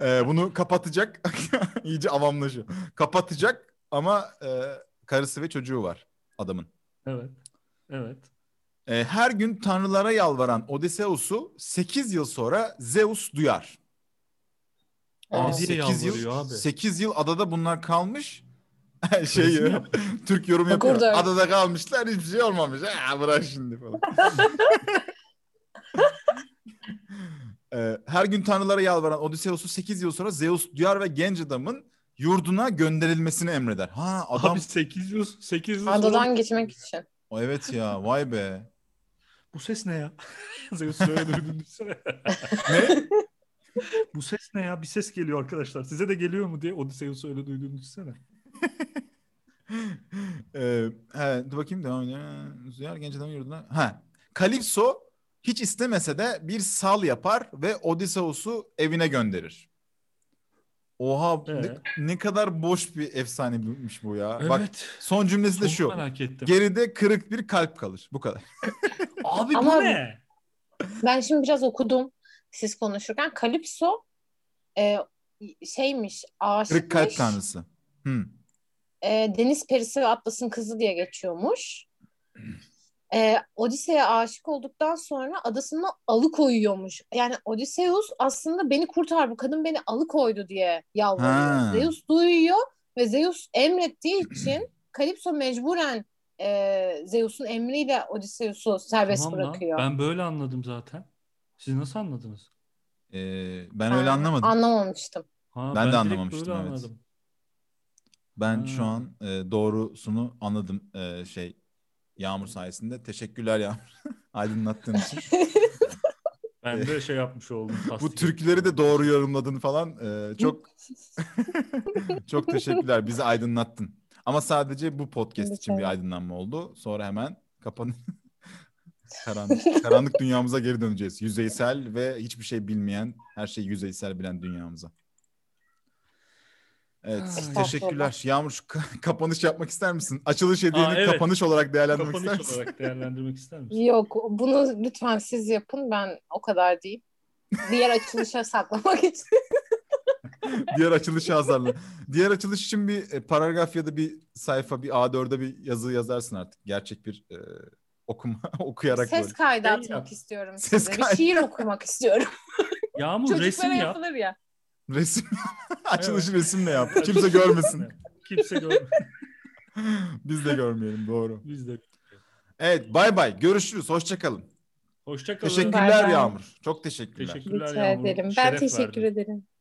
Speaker 2: E, bunu kapatacak. İyice avamlaşıyor. Kapatacak ama e, karısı ve çocuğu var adamın.
Speaker 1: Evet. Evet.
Speaker 2: E, her gün tanrılara yalvaran Odysseus'u 8 yıl sonra Zeus duyar.
Speaker 1: Aa,
Speaker 4: Evet.
Speaker 1: diye
Speaker 2: 8 yıl,
Speaker 1: yalvarıyor abi.
Speaker 2: 8 yıl adada bunlar kalmış. şey
Speaker 1: Resmi yap-
Speaker 2: Türk yorum
Speaker 4: Bak
Speaker 2: yapıyor.
Speaker 4: orada.
Speaker 2: Adada kalmışlar hiçbir şey olmamış. Ha, bırak şimdi falan. E, her gün tanrılara yalvaran Odysseus'u 8 yıl sonra Zeus duyar ve genç adamın yurduna gönderilmesini emreder. Ha adam
Speaker 1: Abi 800 800
Speaker 4: Adadan
Speaker 1: olan-
Speaker 4: geçmek için.
Speaker 2: O evet ya vay be.
Speaker 1: Bu ses ne ya? Zeus'un öyle döndüğünü düşünsene.
Speaker 2: Ne?
Speaker 1: Bu ses ne ya? Bir ses geliyor arkadaşlar. Size de geliyor mu diye Odysseus'u öyle duyduğunu düşünsene.
Speaker 2: Ee, he, dur bakayım devam edelim. Züyar genç adamın yurduna. Ha. Kalipso hiç istemese de bir sal yapar ve Odysseus'u evine gönderir. Oha ne,
Speaker 1: Ee?
Speaker 2: ne kadar boş bir efsaneymiş bu ya.
Speaker 1: Evet.
Speaker 2: Bak son cümlesi de
Speaker 1: Çok
Speaker 2: şu.
Speaker 1: merak ettim.
Speaker 2: Geride kırık bir kalp kalır. Bu kadar.
Speaker 1: Abi
Speaker 4: Ama-
Speaker 1: bu ne?
Speaker 4: Ben şimdi biraz okudum siz konuşurken. Kalipso e, şeymiş,
Speaker 2: Kırık kalp
Speaker 4: aşıkmış.
Speaker 2: tanrısı. Hı.
Speaker 4: E, Deniz perisi ve Atlas'ın kızı diye geçiyormuş. E, Odise'ye aşık olduktan sonra adasına alıkoyuyormuş. Yani Odysseus aslında beni kurtar bu kadın beni alıkoydu diye
Speaker 2: Ha.
Speaker 4: yalvarıyor. Zeus duyuyor ve Zeus emrettiği için Kalipso mecburen e, Zeus'un emriyle Odysseus'u serbest
Speaker 1: Tamam lan.
Speaker 4: bırakıyor.
Speaker 1: Ben böyle anladım zaten. Siz nasıl anladınız?
Speaker 2: Ee, ben öyle
Speaker 4: Ha,
Speaker 2: anlamadım.
Speaker 4: Anlamamıştım.
Speaker 1: Ha,
Speaker 2: Ben de
Speaker 1: direkt
Speaker 2: anlamamıştım,
Speaker 1: böyle
Speaker 2: evet.
Speaker 1: anladım.
Speaker 2: Ben
Speaker 1: Ha.
Speaker 2: şu an e, doğrusunu anladım e, şey Yağmur sayesinde. Teşekkürler Yağmur. Aydınlattığın için.
Speaker 1: Ben de şey yapmış oldum.
Speaker 2: Ee, Bu
Speaker 1: tasdik
Speaker 2: türküleri
Speaker 1: etmiş
Speaker 2: de doğru yorumladın falan. E, çok çok teşekkürler. Bizi aydınlattın. Ama sadece bu podcast için bir
Speaker 4: Lütfen.
Speaker 2: aydınlanma oldu. Sonra hemen kapan karanlık, karanlık dünyamıza geri döneceğiz. Yüzeysel ve hiçbir şey bilmeyen, her şeyi yüzeysel bilen dünyamıza. Evet,
Speaker 1: Ay.
Speaker 2: teşekkürler. Yağmur şu ka- kapanış yapmak ister misin? Açılış hediyeni
Speaker 1: Aa, evet.
Speaker 2: kapanış olarak değerlendirmek
Speaker 1: Kapanış
Speaker 2: ister misin?
Speaker 1: olarak değerlendirmek ister misin?
Speaker 4: Yok bunu lütfen siz yapın ben o kadar değil. Diğer açılışa saklamak için.
Speaker 2: Diğer açılışı hazırla. Diğer açılış için bir e, paragraf ya da bir sayfa, bir A4'e bir yazı yazarsın artık. Gerçek bir e, okuma okuyarak
Speaker 4: Ses
Speaker 2: böyle.
Speaker 4: kaydı
Speaker 1: Şey
Speaker 4: atmak
Speaker 1: yap.
Speaker 4: istiyorum
Speaker 2: Ses
Speaker 4: size.
Speaker 2: kaydı.
Speaker 4: Bir şiir okumak istiyorum.
Speaker 1: Yağmur resim
Speaker 4: Çocuklara
Speaker 1: yap.
Speaker 4: yapılır ya.
Speaker 2: Resim. Açılışı
Speaker 1: Evet.
Speaker 2: resimle yap. Kimse görmesin.
Speaker 1: Kimse görmesin.
Speaker 2: Biz de görmeyelim doğru.
Speaker 1: Biz de.
Speaker 2: Evet, bay bay. Görüşürüz. Hoşça kalın.
Speaker 1: Hoşça kalın.
Speaker 2: Teşekkürler
Speaker 4: bay.
Speaker 2: Yağmur. Çok teşekkürler.
Speaker 1: Teşekkürler
Speaker 4: Rica
Speaker 1: Yağmur.
Speaker 4: ederim. Ben
Speaker 1: Şeref
Speaker 4: teşekkür
Speaker 1: verdin.
Speaker 4: ederim.